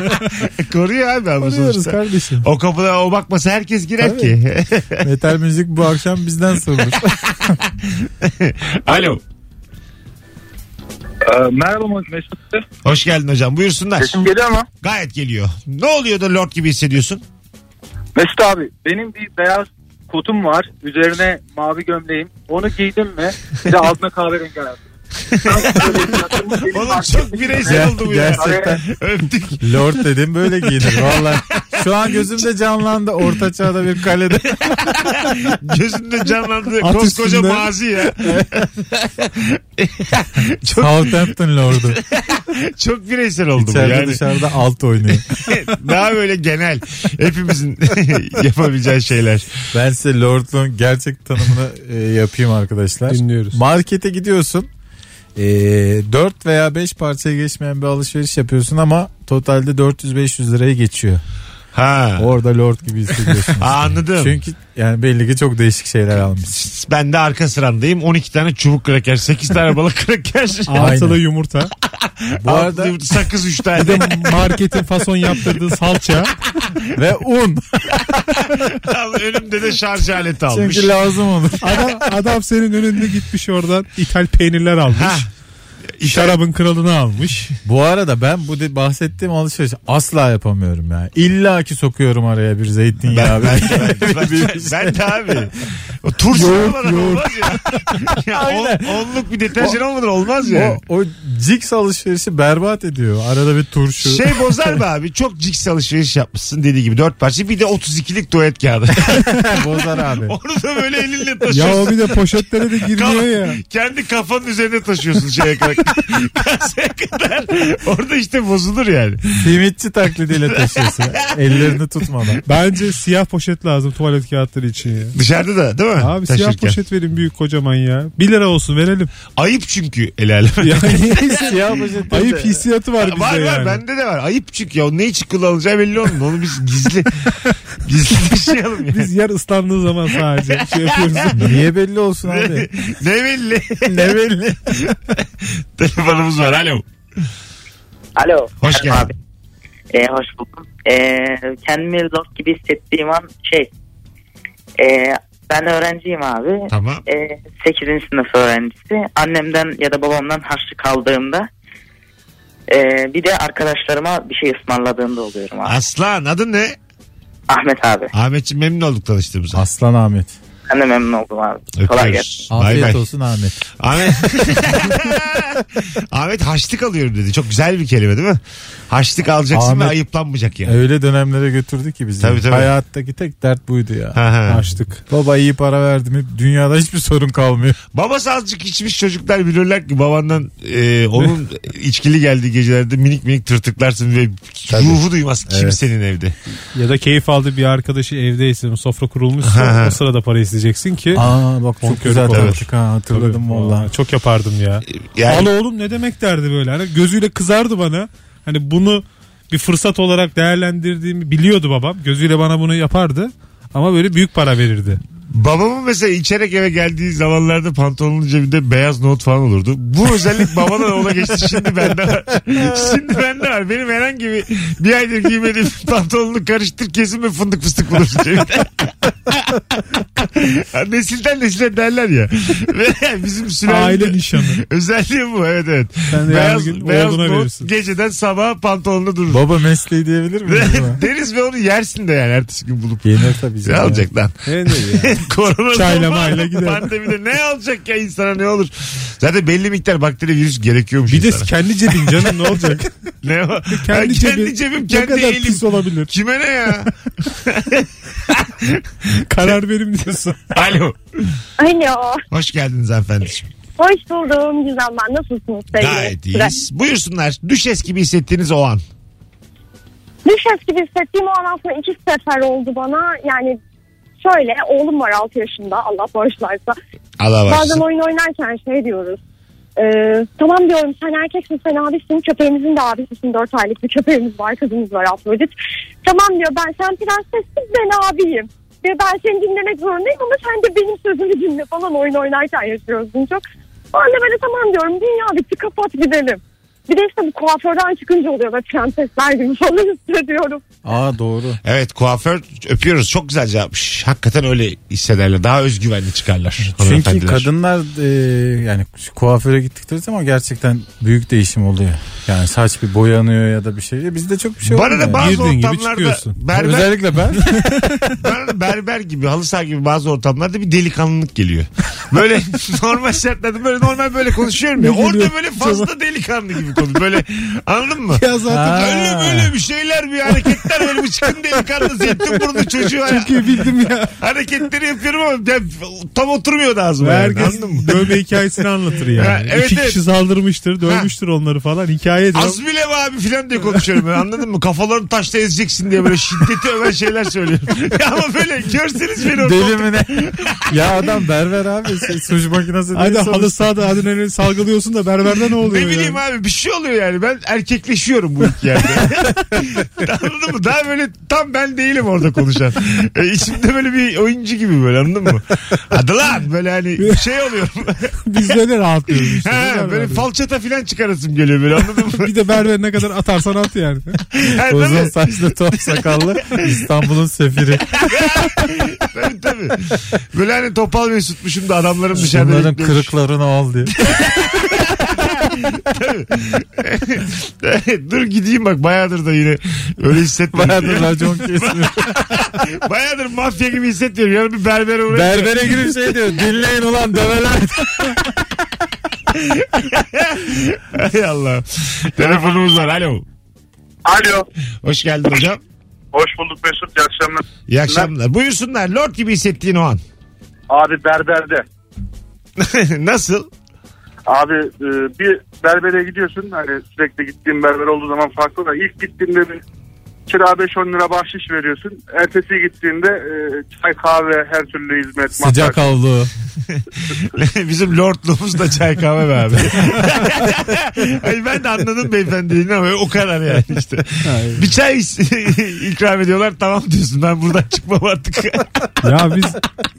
S2: Koruyor abi ama
S3: Koruyoruz
S2: sonuçta.
S3: kardeşim.
S2: O kapıda o bakmasa herkes girer
S3: Tabii.
S2: ki.
S3: Metal müzik bu akşam bizden sorulur.
S2: Alo.
S7: E, merhaba Mesut.
S2: Hoş geldin hocam. Buyursunlar.
S7: Sesim geliyor mu?
S2: Gayet geliyor. Ne oluyor da lord gibi hissediyorsun?
S7: Mesut abi benim bir beyaz kotum var. Üzerine mavi gömleğim. Onu giydim mi bir de altına kahverengi hayatım.
S2: Oğlum çok bireysel oldu bu ya.
S3: Gerçekten
S2: Öptük.
S3: Lord dedim böyle giyinir valla. Şu an gözümde canlandı orta çağda bir kalede.
S2: Gözünde canlandı.
S3: At
S2: Koskoca
S3: üstünde.
S2: mazi ya. çok,
S3: Southampton Lord'u.
S2: çok bireysel oldu bu
S3: İçeride
S2: yani.
S3: dışarıda alt oynuyor.
S2: Daha böyle genel. Hepimizin yapabileceği şeyler.
S3: Ben size Lord'un gerçek tanımını e, yapayım arkadaşlar.
S4: Dinliyoruz.
S3: Markete gidiyorsun. E, 4 veya 5 parçaya geçmeyen bir alışveriş yapıyorsun ama totalde 400-500 lirayı geçiyor.
S2: Ha.
S3: Orada Lord gibi hissediyorsun.
S2: Anladım.
S3: Çünkü yani belli ki çok değişik şeyler almış.
S2: Ben de arka sırandayım. 12 tane çubuk kraker, 8 tane balık kraker.
S4: Artılı yumurta.
S3: Bu arada
S2: Altı sakız 3
S4: Bir
S2: tane.
S4: de marketin fason yaptırdığı salça.
S3: ve un.
S2: Önümde de şarj aleti almış.
S3: Çünkü lazım olur.
S4: Adam, adam senin önünde gitmiş oradan ithal peynirler almış.
S2: Ha.
S4: Şarabın kralını almış.
S3: Bu arada ben bu de bahsettiğim alışveriş asla yapamıyorum ya. İlla ki sokuyorum araya bir zeytinyağı.
S2: Ben, ben,
S3: bir-
S2: ben, ben, ben de abi. O turşu
S3: Yoğurt,
S2: olmadan
S3: yoğurt.
S2: olmaz ya. ya on-
S3: Aynen.
S2: onluk bir deterjan olmadan olmaz ya.
S3: O, o Cix alışverişi berbat ediyor. Arada bir turşu.
S2: Şey bozar mı abi? Çok ciks alışveriş yapmışsın dediği gibi dört parça. Bir de 32'lik tuvalet kağıdı.
S3: bozar abi.
S2: Onu da böyle elinle
S4: Ya o
S2: taşıyorsun.
S4: bir de poşetlere de girmiyor
S2: Kaf-
S4: ya.
S2: Kendi kafanın üzerine taşıyorsun şeye kadar. Kasaya kadar. Orada işte bozulur yani.
S3: Simitçi taklidiyle taşıyorsun. Ellerini tutmadan.
S4: Bence siyah poşet lazım tuvalet kağıtları için ya.
S2: Dışarıda da değil mi?
S4: Abi siyah
S2: Taşırken.
S4: poşet verin büyük kocaman ya. 1 lira olsun verelim.
S2: Ayıp çünkü el aleme.
S4: Ya,
S3: Siyah poşetleri
S4: ayıp
S3: de-
S4: hissiyatı var bizde
S2: var var
S4: yani.
S2: bende de var. Ayıp çünkü ya. Ne için kullanılacağı belli olmuyor. Onu biz gizli gizli taşıyalım ya.
S4: Biz yer ıslandığı zaman sadece şey yapıyoruz.
S3: Niye belli olsun abi?
S2: ne belli.
S3: ne belli?
S2: Telefonumuz var. Alo.
S7: Alo.
S2: Hoş
S7: Merhaba
S2: geldin.
S7: abi. Ee, hoş buldum. Ee, kendimi lord gibi hissettiğim an şey. ee, ben öğrenciyim abi.
S2: Tamam.
S7: Ee, 8. sınıf öğrencisi. Annemden ya da babamdan harçlık kaldığımda ee, bir de arkadaşlarıma bir şey ısmarladığımda oluyorum abi.
S2: Aslan adın ne?
S7: Ahmet abi.
S2: Ahmetciğim memnun olduk tanıştığımıza.
S3: Aslan Ahmet.
S7: Ben de memnun oldum abi. Kolay gelsin.
S2: Öpüyoruz. Bay
S3: Afiyet
S2: bay.
S3: olsun Ahmet.
S2: Ahmet. Ahmet haçlık alıyorum dedi. Çok güzel bir kelime değil mi? Haçlık alacaksın ve
S3: Ahmet-
S2: ayıplanmayacak yani.
S3: Öyle dönemlere götürdü ki bizi.
S2: Tabii, tabii.
S3: Hayattaki tek dert buydu ya.
S2: Ha, ha.
S3: Açtık. Baba iyi para verdi mi dünyada hiçbir sorun kalmıyor.
S2: Babası azıcık içmiş çocuklar bilirler ki babandan e, onun içkili geldiği gecelerde minik minik tırtıklarsın ve ruhu duymaz kimsenin evde.
S4: ya da keyif aldı bir arkadaşı evdeyse sofra
S2: Hı
S4: kurulmuşsa
S2: hı.
S4: o sırada para isteyeceksin ki.
S3: Aa bak çok
S4: Çok
S3: güzel
S4: kötü olmuş.
S3: tanıdık ha hatırladım
S4: Tabii.
S3: valla.
S4: Aa, Çok yapardım ya.
S2: Yani
S4: Al oğlum ne demek derdi böyle. Hani gözüyle kızardı bana. Hani bunu bir fırsat olarak değerlendirdiğimi biliyordu babam. Gözüyle bana bunu yapardı. Ama böyle büyük para verirdi.
S2: babamın mesela içerek eve geldiği zamanlarda pantolonun cebinde beyaz not falan olurdu. Bu özellik babadan ona geçti şimdi bende var. Şimdi bende var. Benim herhangi bir, bir aydır giymediğim pantolonunu karıştır kesin bir fındık fıstık bulursun cebinde. Nesilden nesile derler ya. Ve bizim sülalemiz...
S4: Aile nişanı.
S2: Özelliği bu evet evet.
S4: Sen de
S2: beyaz
S4: yarın gün
S2: beyaz
S4: oğluna
S2: not
S4: verirsin.
S2: geceden sabaha pantolonda durur.
S3: Baba mesleği diyebilir miyiz? buna?
S2: Deriz ve onu yersin de yani ertesi gün bulup.
S3: Yenir tabii.
S2: Ne
S3: canım.
S2: alacak lan?
S4: Ne diyor ya?
S2: Korona
S4: Çayla
S2: zamanı,
S4: mayla gider.
S2: Pandemide ne alacak ya insana ne olur? Zaten belli miktar bakteri virüs gerekiyormuş
S4: bir de
S2: insana.
S4: kendi cebin canım ne olacak?
S2: ne o? Kendi,
S4: Kendi,
S2: kendi
S4: cebin
S2: cebim
S4: ne
S2: kendi
S4: kadar
S2: elim.
S4: pis olabilir.
S2: Kime ne ya?
S4: Karar verim diyorsun.
S2: Alo.
S8: Alo.
S2: Hoş geldiniz hanımefendiciğim.
S8: Hoş buldum. Güzel ben. Nasılsınız
S7: Ee,
S8: sevgili?
S2: Gayet
S8: Güzel.
S2: iyiyiz. Buyursunlar. Düşes gibi hissettiğiniz o an.
S8: Düşes gibi hissettiğim o an aslında iki sefer oldu bana. Yani şöyle oğlum var 6 yaşında. Allah bağışlarsa.
S2: Allah
S8: Bazen
S2: varsın.
S8: oyun oynarken şey diyoruz. Ee, tamam diyorum sen erkeksin sen abisin köpeğimizin de abisisin 4 aylık bir köpeğimiz var kızımız var Afrodit. Tamam diyor ben sen prensessin ben abiyim. Ve ben seni dinlemek zorundayım ama sen de benim sözümü dinle falan oyun oynarken yaşıyoruz bunu çok. O anda böyle tamam diyorum dünya bitti kapat gidelim. Bir de işte bu kuaförden çıkınca oluyor böyle prensesler gibi falan hissediyorum.
S3: Aa doğru.
S2: Evet kuaför öpüyoruz. Çok güzel cevapmış. Hakikaten öyle hissederler. Daha özgüvenli çıkarlar.
S3: Çünkü
S2: hanımefendiler.
S3: kadınlar e, yani şu kuaföre gittikleri zaman gerçekten büyük değişim oluyor. Yani saç bir boyanıyor ya da bir şey. Bizde çok bir şey
S2: Bana da
S3: olmuyor.
S2: bazı
S4: Girdiğin gibi
S2: ortamlarda
S4: çıkıyorsun.
S2: berber,
S3: Özellikle ben.
S2: bana da berber gibi halı saha gibi bazı ortamlarda bir delikanlılık geliyor. Böyle normal şartlarda böyle normal böyle konuşuyorum ya.
S4: Ne geliyor?
S2: Orada böyle fazla delikanlı gibi konu. Böyle anladın mı?
S4: ya zaten
S3: Ha.
S2: Öyle böyle bir şeyler bir hareketler böyle bir çıkın delikanlı zeytin burnu çocuğu ha-
S4: ki bildim ya.
S2: hareketleri yapıyorum ama ya, tam oturmuyor da ağzıma.
S4: Ve
S2: Yani,
S4: herkes
S2: anladın mı?
S4: dövme hikayesini anlatır yani.
S2: Ha, evet,
S4: İki
S2: evet.
S4: kişi saldırmıştır, dövmüştür onları falan. Hikayedir.
S2: Az bile mi abi filan diye konuşuyorum ben anladın mı? Kafalarını taşla ezeceksin diye böyle şiddeti öven şeyler söylüyorum. Ya Ama böyle görseniz beni
S3: Deli
S2: orada.
S3: mi ne? ya adam berber abi. Şey, suç makinesi
S4: Hadi
S3: değil.
S4: halı sahada adrenalin salgılıyorsun da berberde ne oluyor
S2: Ne bileyim
S4: yani?
S2: abi bir şey oluyor yani ben erkekleşiyorum bu iki yerde. anladın mı? Daha böyle tam ben değilim orada konuşan. E, içimde böyle bir oyuncu gibi böyle anladın mı? Hadi lan böyle hani şey oluyorum.
S4: Biz böyle rahatlıyoruz işte.
S2: ha,
S4: Berber
S2: böyle
S4: diyor.
S2: falçata filan çıkarasım geliyor böyle anladın mı?
S4: bir de berber ne kadar atarsan at yani.
S2: Ha,
S3: Uzun
S2: tabii,
S3: saçlı top sakallı İstanbul'un sefiri.
S2: tabii, tabii. Böyle hani topal mesutmuşum da adamlarım dışarıda
S3: Bunların
S2: bekliyormuş.
S3: kırıklarını al diye.
S2: Dur gideyim bak bayağıdır da yine öyle hissetmiyorum.
S3: Bayağıdır racon kesmiyor.
S2: Bayağıdır mafya gibi hissetmiyorum. Yani bir berbere uğrayayım.
S3: Berbere girip şey diyor. Dinleyin ulan develer.
S2: Hay Allah. Telefonumuz var. Alo.
S5: Alo.
S2: Hoş geldin hocam.
S5: Hoş bulduk Mesut. İyi akşamlar.
S2: İyi akşamlar. Buyursunlar. Lord gibi hissettiğin o an.
S5: Abi berberde.
S2: Nasıl?
S5: Abi e, bir berbere gidiyorsun. Hani sürekli gittiğim berber olduğu zaman farklı da ilk gittiğinde bir kira 5-10 lira bahşiş veriyorsun. Ertesi gittiğinde e, çay kahve her türlü hizmet.
S3: Sıcak
S5: masaj.
S3: havlu.
S2: Bizim lordluğumuz da çay kahve be abi. Ay ben de anladım beyefendiliğini ama o kadar yani işte. Bir çay is- ikram ediyorlar tamam diyorsun ben buradan çıkmam artık.
S4: Ya biz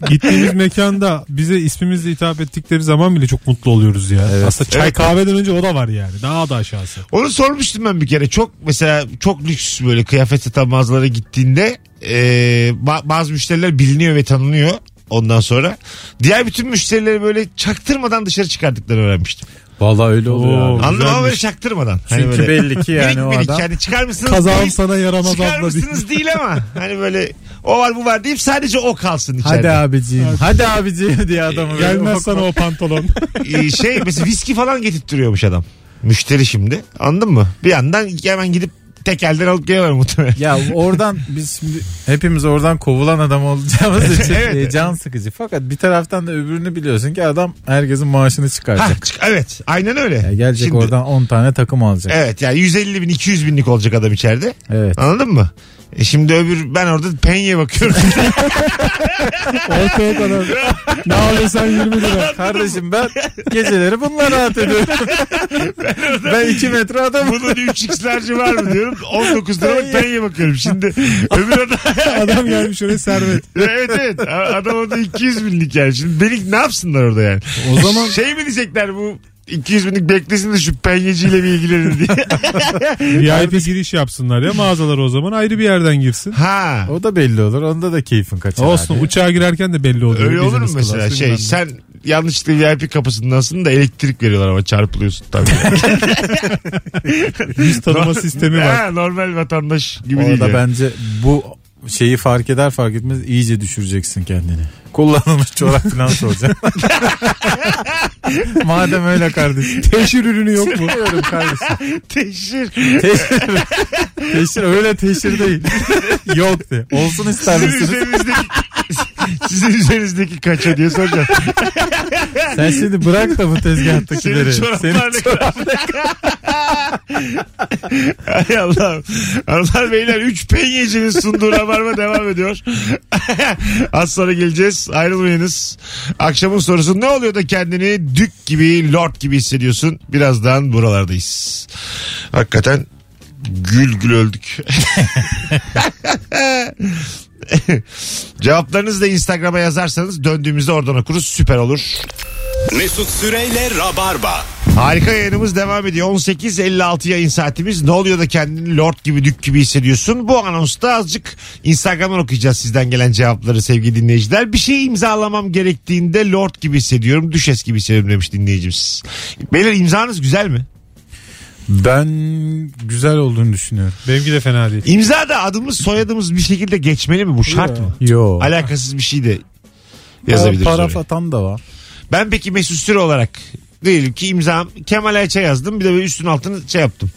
S4: gittiğimiz mekanda bize ismimizle hitap ettikleri zaman bile çok mutlu oluyoruz ya. Aslında çay
S2: Evet.
S4: kahveden önce o da var yani. Daha da aşağısı.
S2: Onu sormuştum ben bir kere. Çok mesela çok lüks böyle kıyafet satan mağazalara gittiğinde e, ba- bazı müşteriler biliniyor ve tanınıyor ondan sonra. Diğer bütün müşterileri böyle çaktırmadan dışarı çıkardıklarını öğrenmiştim.
S3: Vallahi öyle oluyor.
S4: Oo.
S3: abi.
S2: Anladın mı?
S4: güzelmiş.
S2: Böyle çaktırmadan.
S3: Çünkü
S2: böyle
S3: Hani belli ki yani
S2: minik
S3: o
S2: minik
S3: adam.
S2: yani çıkar mısınız?
S4: Kazağım
S2: Değil.
S4: sana yaramaz
S2: Çıkar
S4: abla. değil.
S2: mısınız değil ama hani böyle o var bu var deyip sadece o kalsın
S3: Hadi
S2: içeride.
S3: abiciğim. Hadi abiciğim diye adamı.
S4: Gelmez sana o pantolon.
S2: Ee, şey mesela viski falan getirtiyormuş adam. Müşteri şimdi anladın mı? Bir yandan hemen gidip tek elden alıp geliyorlar muhtemelen.
S3: Ya oradan biz şimdi hepimiz oradan kovulan adam olacağımız için
S2: Evet.
S3: e, can sıkıcı. Fakat bir taraftan da öbürünü biliyorsun ki adam herkesin maaşını
S2: Ha,
S3: çıkaracak.
S2: çık- evet aynen öyle.
S3: Ya gelecek
S2: Şimdi-
S3: oradan 10 tane takım alacak.
S2: Evet yani 150 bin 200 binlik olacak adam içeride.
S3: Evet.
S2: Anladın mı? E şimdi öbür ben orada penye bakıyorum.
S3: Ortaya kadar. ne alırsan 20 lira. Kardeşim ben geceleri bununla rahat ediyorum. ben 2 metre adamım.
S2: Bunun 3x'lerci var mı diyorum. 19 liralık penye bakıyorum. Şimdi öbür adam...
S4: Adam gelmiş oraya servet.
S2: evet evet A- adam orada 200 binlik yani. Şimdi delik ne yapsınlar orada yani?
S3: O zaman-
S2: Şey mi diyecekler bu 200 binlik beklesin de şu penyeciyle bir ilgilenin diye.
S4: VIP giriş yapsınlar ya mağazalara o zaman ayrı bir yerden girsin.
S2: ha.
S3: O da belli olur. Onda da keyfin kaçar.
S4: Olsun
S3: abi.
S4: uçağa girerken de belli oluyor.
S2: Öyle olur mu
S4: Business
S2: mesela
S4: class,
S2: şey
S4: bilmem ne.
S2: sen yanlışlıkla VIP kapısındansın da elektrik veriyorlar ama çarpılıyorsun tabii.
S4: Yüz tanıma sistemi var.
S2: Ha, normal vatandaş gibi değil.
S3: Orada
S2: yani.
S3: bence bu şeyi fark eder fark etmez iyice düşüreceksin kendini. Kullanılmış çorap falan soracaksın. Madem öyle kardeşim.
S4: Teşhir ürünü yok mu?
S3: Bilmiyorum kardeşim.
S2: Teşhir.
S3: Teşhir, teşhir öyle teşhir değil. Yok de. Olsun ister
S2: Sizin
S3: misiniz?
S2: üzerinizdeki, sizin üzerinizdeki kaça diye soracağım.
S3: Sen şimdi bırak da bu tezgahtakileri.
S2: Senin çoraplar ne
S3: Senin
S2: kadar? Hay Allah'ım. Hanımlar beyler 3 penyecinin sunduğu rabarba devam ediyor. Az sonra geleceğiz. Ayrılmayınız. Akşamın sorusu ne oluyor da kendini dük gibi, lord gibi hissediyorsun? Birazdan buralardayız. Hakikaten gül gül öldük. Cevaplarınızı da Instagram'a yazarsanız döndüğümüzde oradan okuruz. Süper olur.
S1: Mesut Süreyle Rabarba.
S2: Harika yayınımız devam ediyor. 18.56 yayın saatimiz. Ne oluyor da kendini lord gibi dük gibi hissediyorsun? Bu anonsta azıcık Instagram'dan okuyacağız sizden gelen cevapları sevgili dinleyiciler. Bir şey imzalamam gerektiğinde lord gibi hissediyorum, düşes gibi hissediyorum demiş dinleyicimiz. Beyler imzanız güzel mi?
S3: Ben güzel olduğunu düşünüyorum.
S4: Benimki de fena değil.
S2: İmza da adımız soyadımız bir şekilde geçmeli mi? Bu şart mı?
S3: Yo.
S2: Alakasız bir şey de
S3: Para
S2: yazabiliriz. oraya.
S3: Paraf atan da var.
S2: Ben peki Mesut Süre olarak diyelim ki imzam Kemal Ayça yazdım bir de böyle üstün altını şey yaptım.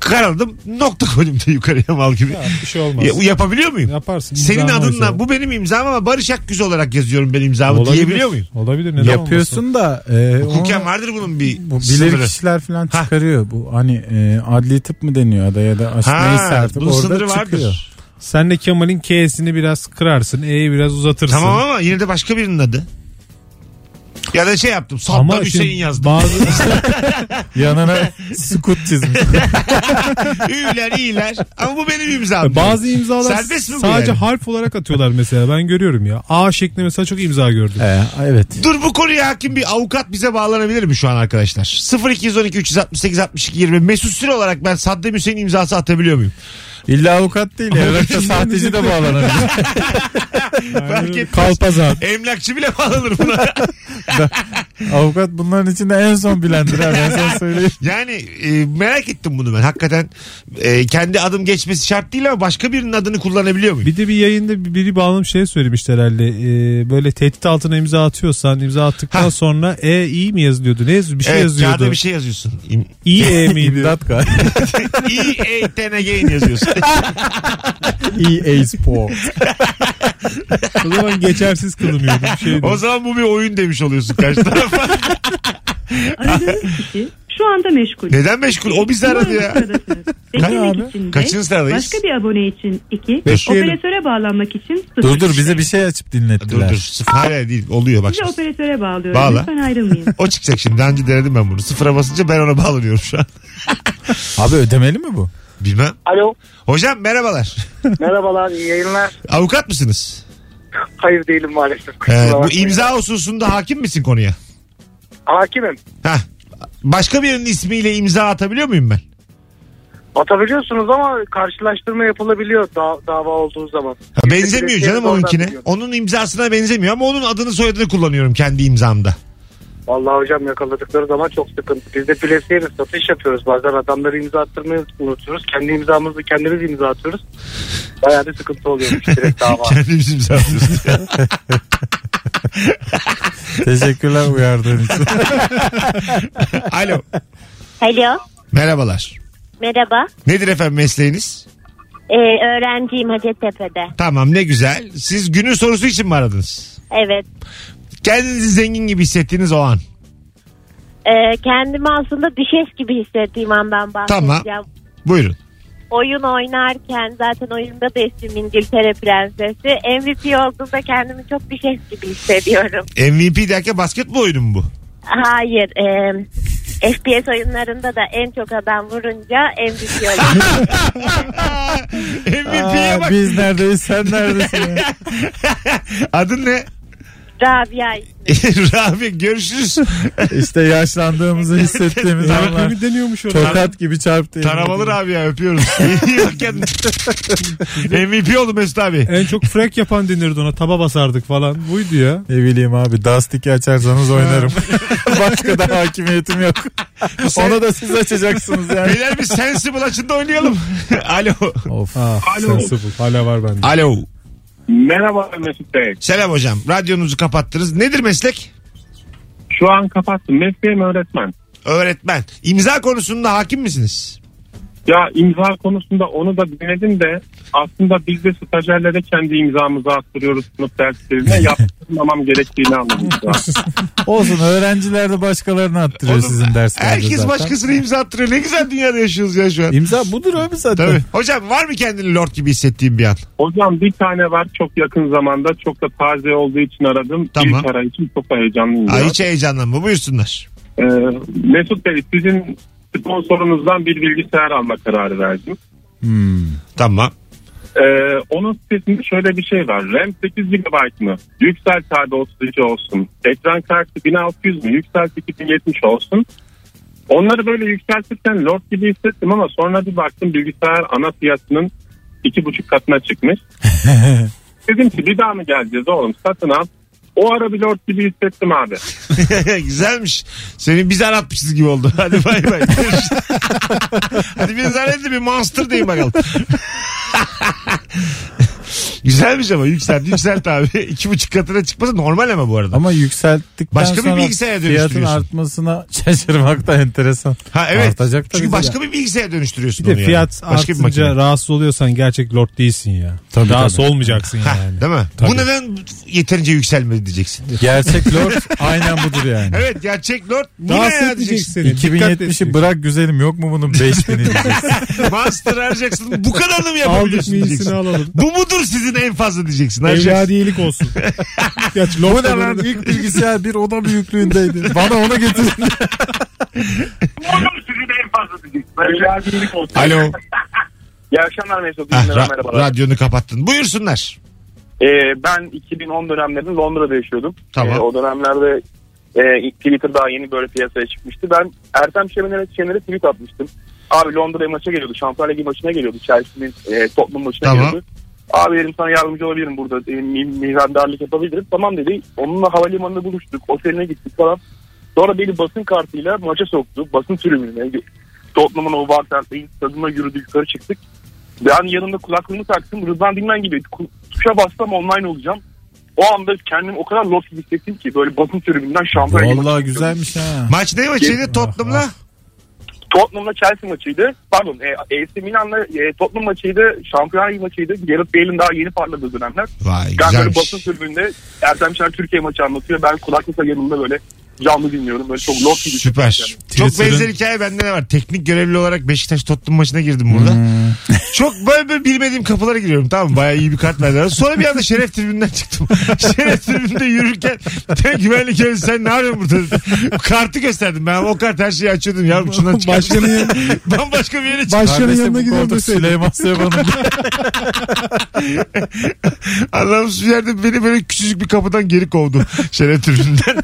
S2: Karaladım nokta koydum da yukarıya mal gibi.
S4: Bir şey olmaz.
S2: Ya- yapabiliyor muyum?
S4: Yaparsın.
S2: Senin
S4: İmzanı
S2: adınla
S4: oysa.
S2: bu benim imzam ama Barış Akgüz olarak yazıyorum ben imzamı
S4: Olabilir.
S2: diyebiliyor muyum?
S4: Olabilir. Neden olmasın?
S3: Yapıyorsun da. E,
S2: Hukuken
S3: ona-
S2: vardır bunun bir
S3: Bu bilir
S2: sınırı.
S3: kişiler falan
S2: Ha.
S3: çıkarıyor. Bu hani e, adli tıp mı deniyor da ya da aş-
S2: Ha,
S3: neyse artık
S2: bunun
S3: orada
S2: sınırı
S3: çıkıyor.
S2: vardır.
S4: Sen de Kemal'in K'sini biraz kırarsın. E'yi biraz uzatırsın.
S2: Tamam ama yine de başka birinin adı. Ya da şey yaptım. Sattan
S4: Ama
S2: Hüseyin
S4: şimdi
S2: yazdım.
S4: Bazı
S3: Yanına sukut çizmiş.
S2: Üyler iyiler. Ama bu benim imzam.
S4: bazı imzalar
S2: Serbest mi bu
S4: sadece
S2: yani?
S4: harf olarak atıyorlar mesela. Ben görüyorum ya. A şeklinde mesela çok imza gördüm.
S3: Ee, evet.
S2: Dur bu konuya hakim bir avukat bize bağlanabilir mi şu an arkadaşlar? 0212 368 62 20 Mesut Süre olarak ben Saddam Hüseyin imzası atabiliyor muyum?
S3: İlla avukat değil. Evrakta sahteci de bağlanabilir.
S2: Fark etmez.
S3: Kalpazan.
S2: Emlakçı bile bağlanır buna.
S3: Avukat bunların içinde en son bilendir ha ben sana söyleyeyim.
S2: Yani e, merak ettim bunu ben. Hakikaten e, kendi adım geçmesi şart değil ama başka birinin adını kullanabiliyor muyum?
S4: Bir de bir yayında bir- biri bağlam şey söylemişti herhalde. Ee, böyle tehdit altına imza atıyorsan imza attıktan
S2: Ha.
S4: sonra e iyi mi yazılıyordu? Ne yazıyordu? Bir şey
S2: evet, kağıda
S4: yazıyordu.
S2: bir şey yazıyorsun. İm-
S4: İyi e miydi?
S3: İmdat galiba.
S2: İyi ETNG'in yazıyorsun.
S3: EA E Sport.
S4: o zaman geçersiz kılınıyordu. Bir şey şeydi.
S2: o zaman bu bir oyun demiş oluyorsun karşı tarafa.
S9: Aradığınız kişi şu anda meşgul.
S2: Neden meşgul? O bizi aradı ya.
S3: abi?
S9: Beklemek için
S2: Kaçıncı
S9: de,
S2: sıradayız?
S9: başka bir abone için 2,
S4: Bekleyelim.
S9: operatöre bağlanmak için 0.
S3: dur dur bize bir şey açıp
S2: Dur
S3: dinlettiler.
S2: dur. Sıfır. Hayır değil. Oluyor bak.
S9: Sizi
S2: şimdi.
S9: operatöre bağlıyorum.
S2: Bağla.
S9: Lütfen ayrılmayın.
S2: O çıkacak şimdi. Daha önce denedim ben bunu. Sıfıra basınca ben ona bağlanıyorum şu an.
S3: Abi ödemeli mi bu?
S2: Bilmem.
S1: Alo.
S2: Hocam merhabalar.
S1: Merhabalar. iyi yayınlar.
S2: Avukat mısınız?
S1: Hayır değilim maalesef.
S2: Ee,
S1: Kusura
S2: bu
S1: bakmayın.
S2: imza hususunda hakim misin konuya?
S1: Hakimim.
S2: Heh. Başka birinin ismiyle imza atabiliyor muyum ben?
S1: Atabiliyorsunuz ama karşılaştırma yapılabiliyor da- dava olduğu zaman.
S2: Ha, benzemiyor
S1: Yüzde
S2: canım
S1: seksen oradan
S2: onunkine.
S1: biliyorum.
S2: Onun imzasına benzemiyor ama onun adını soyadını kullanıyorum kendi imzamda.
S1: Vallahi hocam yakaladıkları zaman çok sıkıntı. Biz de plasiyeri satış yapıyoruz. Bazen adamları imza attırmayı unutuyoruz. Kendi imzamızı kendimiz imza atıyoruz. Bayağı da sıkıntı oluyormuş direkt dava.
S2: Kendimiz imza atıyoruz.
S3: Teşekkürler uyardığın için.
S2: Alo.
S10: Alo
S2: Merhabalar.
S10: merhaba
S2: Nedir efendim mesleğiniz?
S10: Ee, öğrenciyim Hacettepe'de.
S2: Tamam ne güzel. Siz günün sorusu için mi aradınız?
S10: Evet.
S2: Kendinizi zengin gibi hissettiğiniz o an.
S10: Ee, kendimi aslında düşes gibi hissettiğim andan bahsedeceğim.
S2: Buyurun.
S10: Oyun oynarken zaten oyunda da ismim İngiltere Prensesi. MVP olduğunda kendimi çok düşes gibi hissediyorum.
S2: MVP derken basketbol oyunu mu bu?
S10: Hayır. e, em, FPS oyunlarında da en çok adam vurunca MVP oluyorum.
S2: MVP'ye
S3: Aa,
S2: bak.
S3: biz neredeyiz sen neredesin? ya?
S2: Adın ne?
S10: Rabia ismi.
S2: Rabi görüşürüz.
S3: İşte yaşlandığımızı hissettiğimiz anlar.
S4: Tarabemi deniyormuş ona.
S3: Tokat gibi çarptı.
S2: Taramalı Rabi ya öpüyoruz. İyi bak kendine. MVP oldu Mesut abi.
S4: En çok frek yapan denirdi ona. Taba basardık falan. Buydu ya.
S3: Ne bileyim abi Dastik'i açarsanız oynarım. Başka da hakimiyetim yok. Onu da siz açacaksınız yani.
S2: Beyler bir Sensible açında oynayalım. Alo.
S3: of.
S4: Ah, Sen sıfır. Hala var bende.
S2: Alo.
S11: Merhaba Mesut Bey.
S2: Selam hocam. Radyonuzu kapattınız. Nedir meslek?
S11: Şu an kapattım. Mesleğim öğretmen.
S2: Öğretmen. İmza konusunda hakim misiniz?
S11: Ya imza konusunda onu da dinledim de aslında biz de stajyerlere kendi imzamızı attırıyoruz sınıf derslerine. Yaptırmamam gerektiğini anladım. şu an.
S3: Olsun öğrenciler de başkalarını attırıyor
S2: Oğlum,
S3: sizin derslerinizde
S2: Herkes
S3: zaten.
S2: başkasına imza attırıyor. Ne güzel dünyada yaşıyoruz ya şu an.
S3: İmza budur abi zaten.
S2: Tabii. Hocam var mı kendini lord gibi hissettiğin bir an?
S11: Hocam bir tane var çok yakın zamanda çok da taze olduğu için aradım.
S2: Tamam.
S11: İlk ara için çok heyecanlıyım.
S2: Ay,
S11: ya.
S2: hiç heyecanlanma buyursunlar.
S11: Ee, Mesut Bey sizin sponsorunuzdan bir bilgisayar alma kararı verdim.
S3: Hmm.
S2: Tamam.
S11: Ee, onun sitesinde şöyle bir şey var. RAM 8 GB mı? Yükselt abi 32 olsun. Ekran kartı 1600 mü? Yükselt 2070 olsun. Onları böyle yükseltirken Lord gibi hissettim ama sonra bir baktım bilgisayar ana fiyatının iki buçuk katına çıkmış. Dedim ki bir daha mı geleceğiz oğlum satın al. O ara bir Lord gibi hissettim abi.
S2: Güzelmiş. Seni biz aratmışız gibi oldu. Hadi bay bay. Görüşürüz. Hadi bir zannetti bir monster deyin bakalım. Güzelmiş ama yükselt yükselt abi. İki buçuk katına çıkması normal ama bu arada.
S3: Ama yükselttikten
S2: Başka bir
S3: sonra
S2: bilgisayara
S3: fiyatın
S2: dönüştürüyorsun.
S3: artmasına şaşırmak da enteresan.
S2: ha evet.
S3: Artacak tabii
S2: Çünkü
S3: ki
S2: başka bir bilgisayara dönüştürüyorsun
S4: Bir de
S2: onu
S4: fiyat
S2: yani. Başka bir
S4: artınca
S2: makine.
S4: rahatsız oluyorsan gerçek lord değilsin ya.
S3: Tabii,
S4: rahatsız
S3: tabii.
S4: olmayacaksın yani.
S2: Değil mi?
S4: Tabii.
S2: Bu neden yeterince yükselmedi diyeceksin.
S3: Gerçek lord aynen budur yani.
S2: Evet gerçek lord bu ne
S4: Rahatsız
S2: ya
S4: edecek
S2: diyeceksin.
S4: seni. Dikkat
S3: 2070'i
S4: edeceksin.
S3: bırak güzelim yok mu bunun 5000'i diyeceksin.
S2: Master arayacaksın. Bu kadarını mı
S4: Aldık
S2: yapabiliyorsun
S4: mı iyisini
S2: diyeceksin. şey-
S4: alalım.
S2: Bu mudur sizin en fazla diyeceksin. Arayacaksın.
S4: Evladiyelik olsun. Gerçi
S3: Bu
S4: lord
S3: ne lan
S4: da-
S3: ilk bilgisayar bir oda büyüklüğündeydi. Bana onu getirin.
S2: Alo.
S11: İyi akşamlar Mesut.
S2: Ah, ra- radyonu kapattın. Buyursunlar.
S12: Ee, ben 2010 dönemlerinde Londra'da yaşıyordum.
S2: Tamam.
S12: Ee, o dönemlerde e, ilk Twitter daha yeni böyle piyasaya çıkmıştı. Ben Ertem Şener'e Şener'e tweet atmıştım. Abi Londra'ya maça geliyordu. Şampiyonlar Ligi maçına geliyordu. Chelsea'nin e, Tottenham maçına
S2: Tamam.
S12: geliyordu. Abi dedim sana yardımcı olabilirim burada. E, mi- Mihrandarlık yapabilirim. Tamam dedi. Onunla havalimanında buluştuk. Oteline gittik falan. Sonra beni basın kartıyla maça soktu. Basın tribününe. Tottenham'ın o Barclays'ın stadına yürüdü yukarı çıktık. Ben yanımda kulaklığımı taktım. Rıdvan Dilmen gibi ku- tuşa bassam online olacağım. O anda kendimi o kadar lost gibi hissettim ki böyle basın tribünden şampanya gibi.
S3: Vallahi güzelmiş ha.
S2: Maç ne maçıydı Tottenham'la?
S12: Tottenham'la Chelsea maçıydı. Pardon e, AC Milan'la e, Tottenham maçıydı. Şampiyonlar Ligi maçıydı. Gareth Bale'in daha yeni parladığı dönemler.
S2: Vay
S12: Ben böyle basın
S2: güzelmiş.
S12: tribünde Ertem Şer Türkiye maçı anlatıyor. Ben kulaklıkla yanımda böyle canlı dinliyorum. Böyle çok lost gibi.
S2: Süper.
S12: hissettim
S2: Çok
S3: Twitter'ın-
S2: benzer hikaye bende de var. Teknik görevli olarak Beşiktaş Tottenham maçına girdim burada. Çok böyle, böyle bilmediğim kapılara giriyorum tamam mı? Bayağı iyi bir kart verdiler. Sonra bir anda Şeref tribünden çıktım. Şeref tribünde yürürken "Sen güvenlik görevlisi sen ne yapıyorsun burada? dedim. Kartı gösterdim ben. O kart her şeyi açıyordum. Yavrum şundan çıkar.
S4: Başkanın
S2: mısın?
S4: yanına-
S2: Bambaşka bir yere çıktım.
S4: Başkanın
S3: Neredeyse
S4: yanına
S3: bu
S4: gidiyorum
S3: koltuk
S4: deseydin.
S3: Süleyman Seyman'ın
S2: Anlamsız bir yerde beni böyle küçücük bir kapıdan geri kovdu. Şeref tribünden.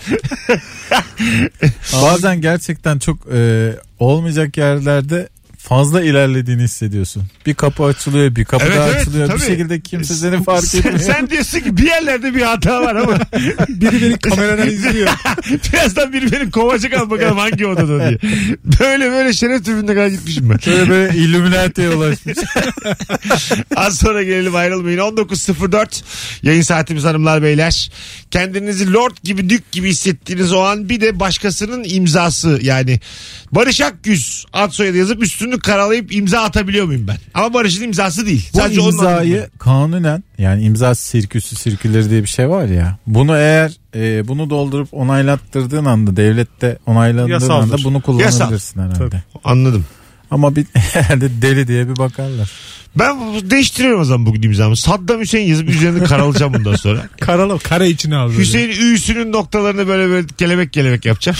S3: Bazen gerçekten çok e, olmayacak yerlerde fazla ilerlediğini hissediyorsun. Bir kapı açılıyor, bir kapı
S2: Evet,
S3: daha
S2: evet,
S3: açılıyor.
S2: tabii.
S3: Bir şekilde kimse seni fark
S2: sen,
S3: etmiyor.
S2: sen diyorsun ki bir yerlerde bir hata var ama.
S4: Biri beni kameradan izliyor.
S2: Birazdan biri beni kovacak al bakalım hangi odada diye. Böyle böyle şeref tribününe kadar gitmişim ben.
S3: Böyle böyle Illuminati'ye ulaşmış.
S2: Az sonra gelelim ayrılmayın. 19.04 yayın saatimiz hanımlar beyler. Kendinizi lord gibi dük gibi hissettiğiniz o an bir de başkasının imzası yani. Barış Akgüz ad soyadı yazıp üstünü karalayıp imza atabiliyor muyum ben? Ama Barış'ın imzası değil.
S3: Bu
S2: Sadece onun
S3: imzayı kanunen yani imza sirküsü sirküleri diye bir şey var ya. Bunu eğer e, bunu doldurup onaylattırdığın anda devlette onaylandığın
S4: Yasaldır.
S3: anda bunu kullanabilirsin herhalde.
S2: adını- Anladım.
S3: Ama bir herhalde deli diye bir bakarlar.
S2: Ben bu- değiştiriyorum o zaman bugün imzamı. Saddam Hüseyin yazıp üzerine karalayacağım bundan sonra.
S4: Karala, kara içine al. böyle.
S2: Hüseyin Ü'sünün noktalarını böyle böyle kelebek kelebek yapacağım.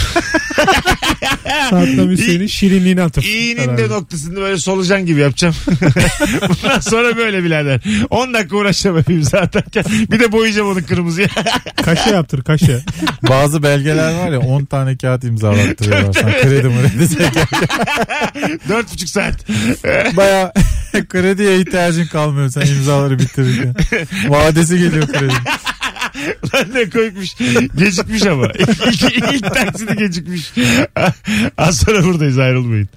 S4: Saddam Hüseyin'in şirinliğini atıp.
S2: İ'nin de noktasını böyle solucan gibi yapacağım. Bundan sonra böyle birader. 10 dakika uğraşacağım hepim zaten. Bir de boyayacağım onu kırmızıya.
S4: Kaşe yaptır kaşe.
S3: Bazı belgeler var ya 10 tane kağıt imzalattırıyorlar sana. Kredi mredi çeker.
S2: 4,5 saat.
S3: Baya krediye ihtiyacın kalmıyor sen imzaları bitirirken. Vadesi geliyor kredi.
S2: Lan ne koymuş. Gecikmiş ama. İlk taksidi gecikmiş. Az sonra buradayız ayrılmayın.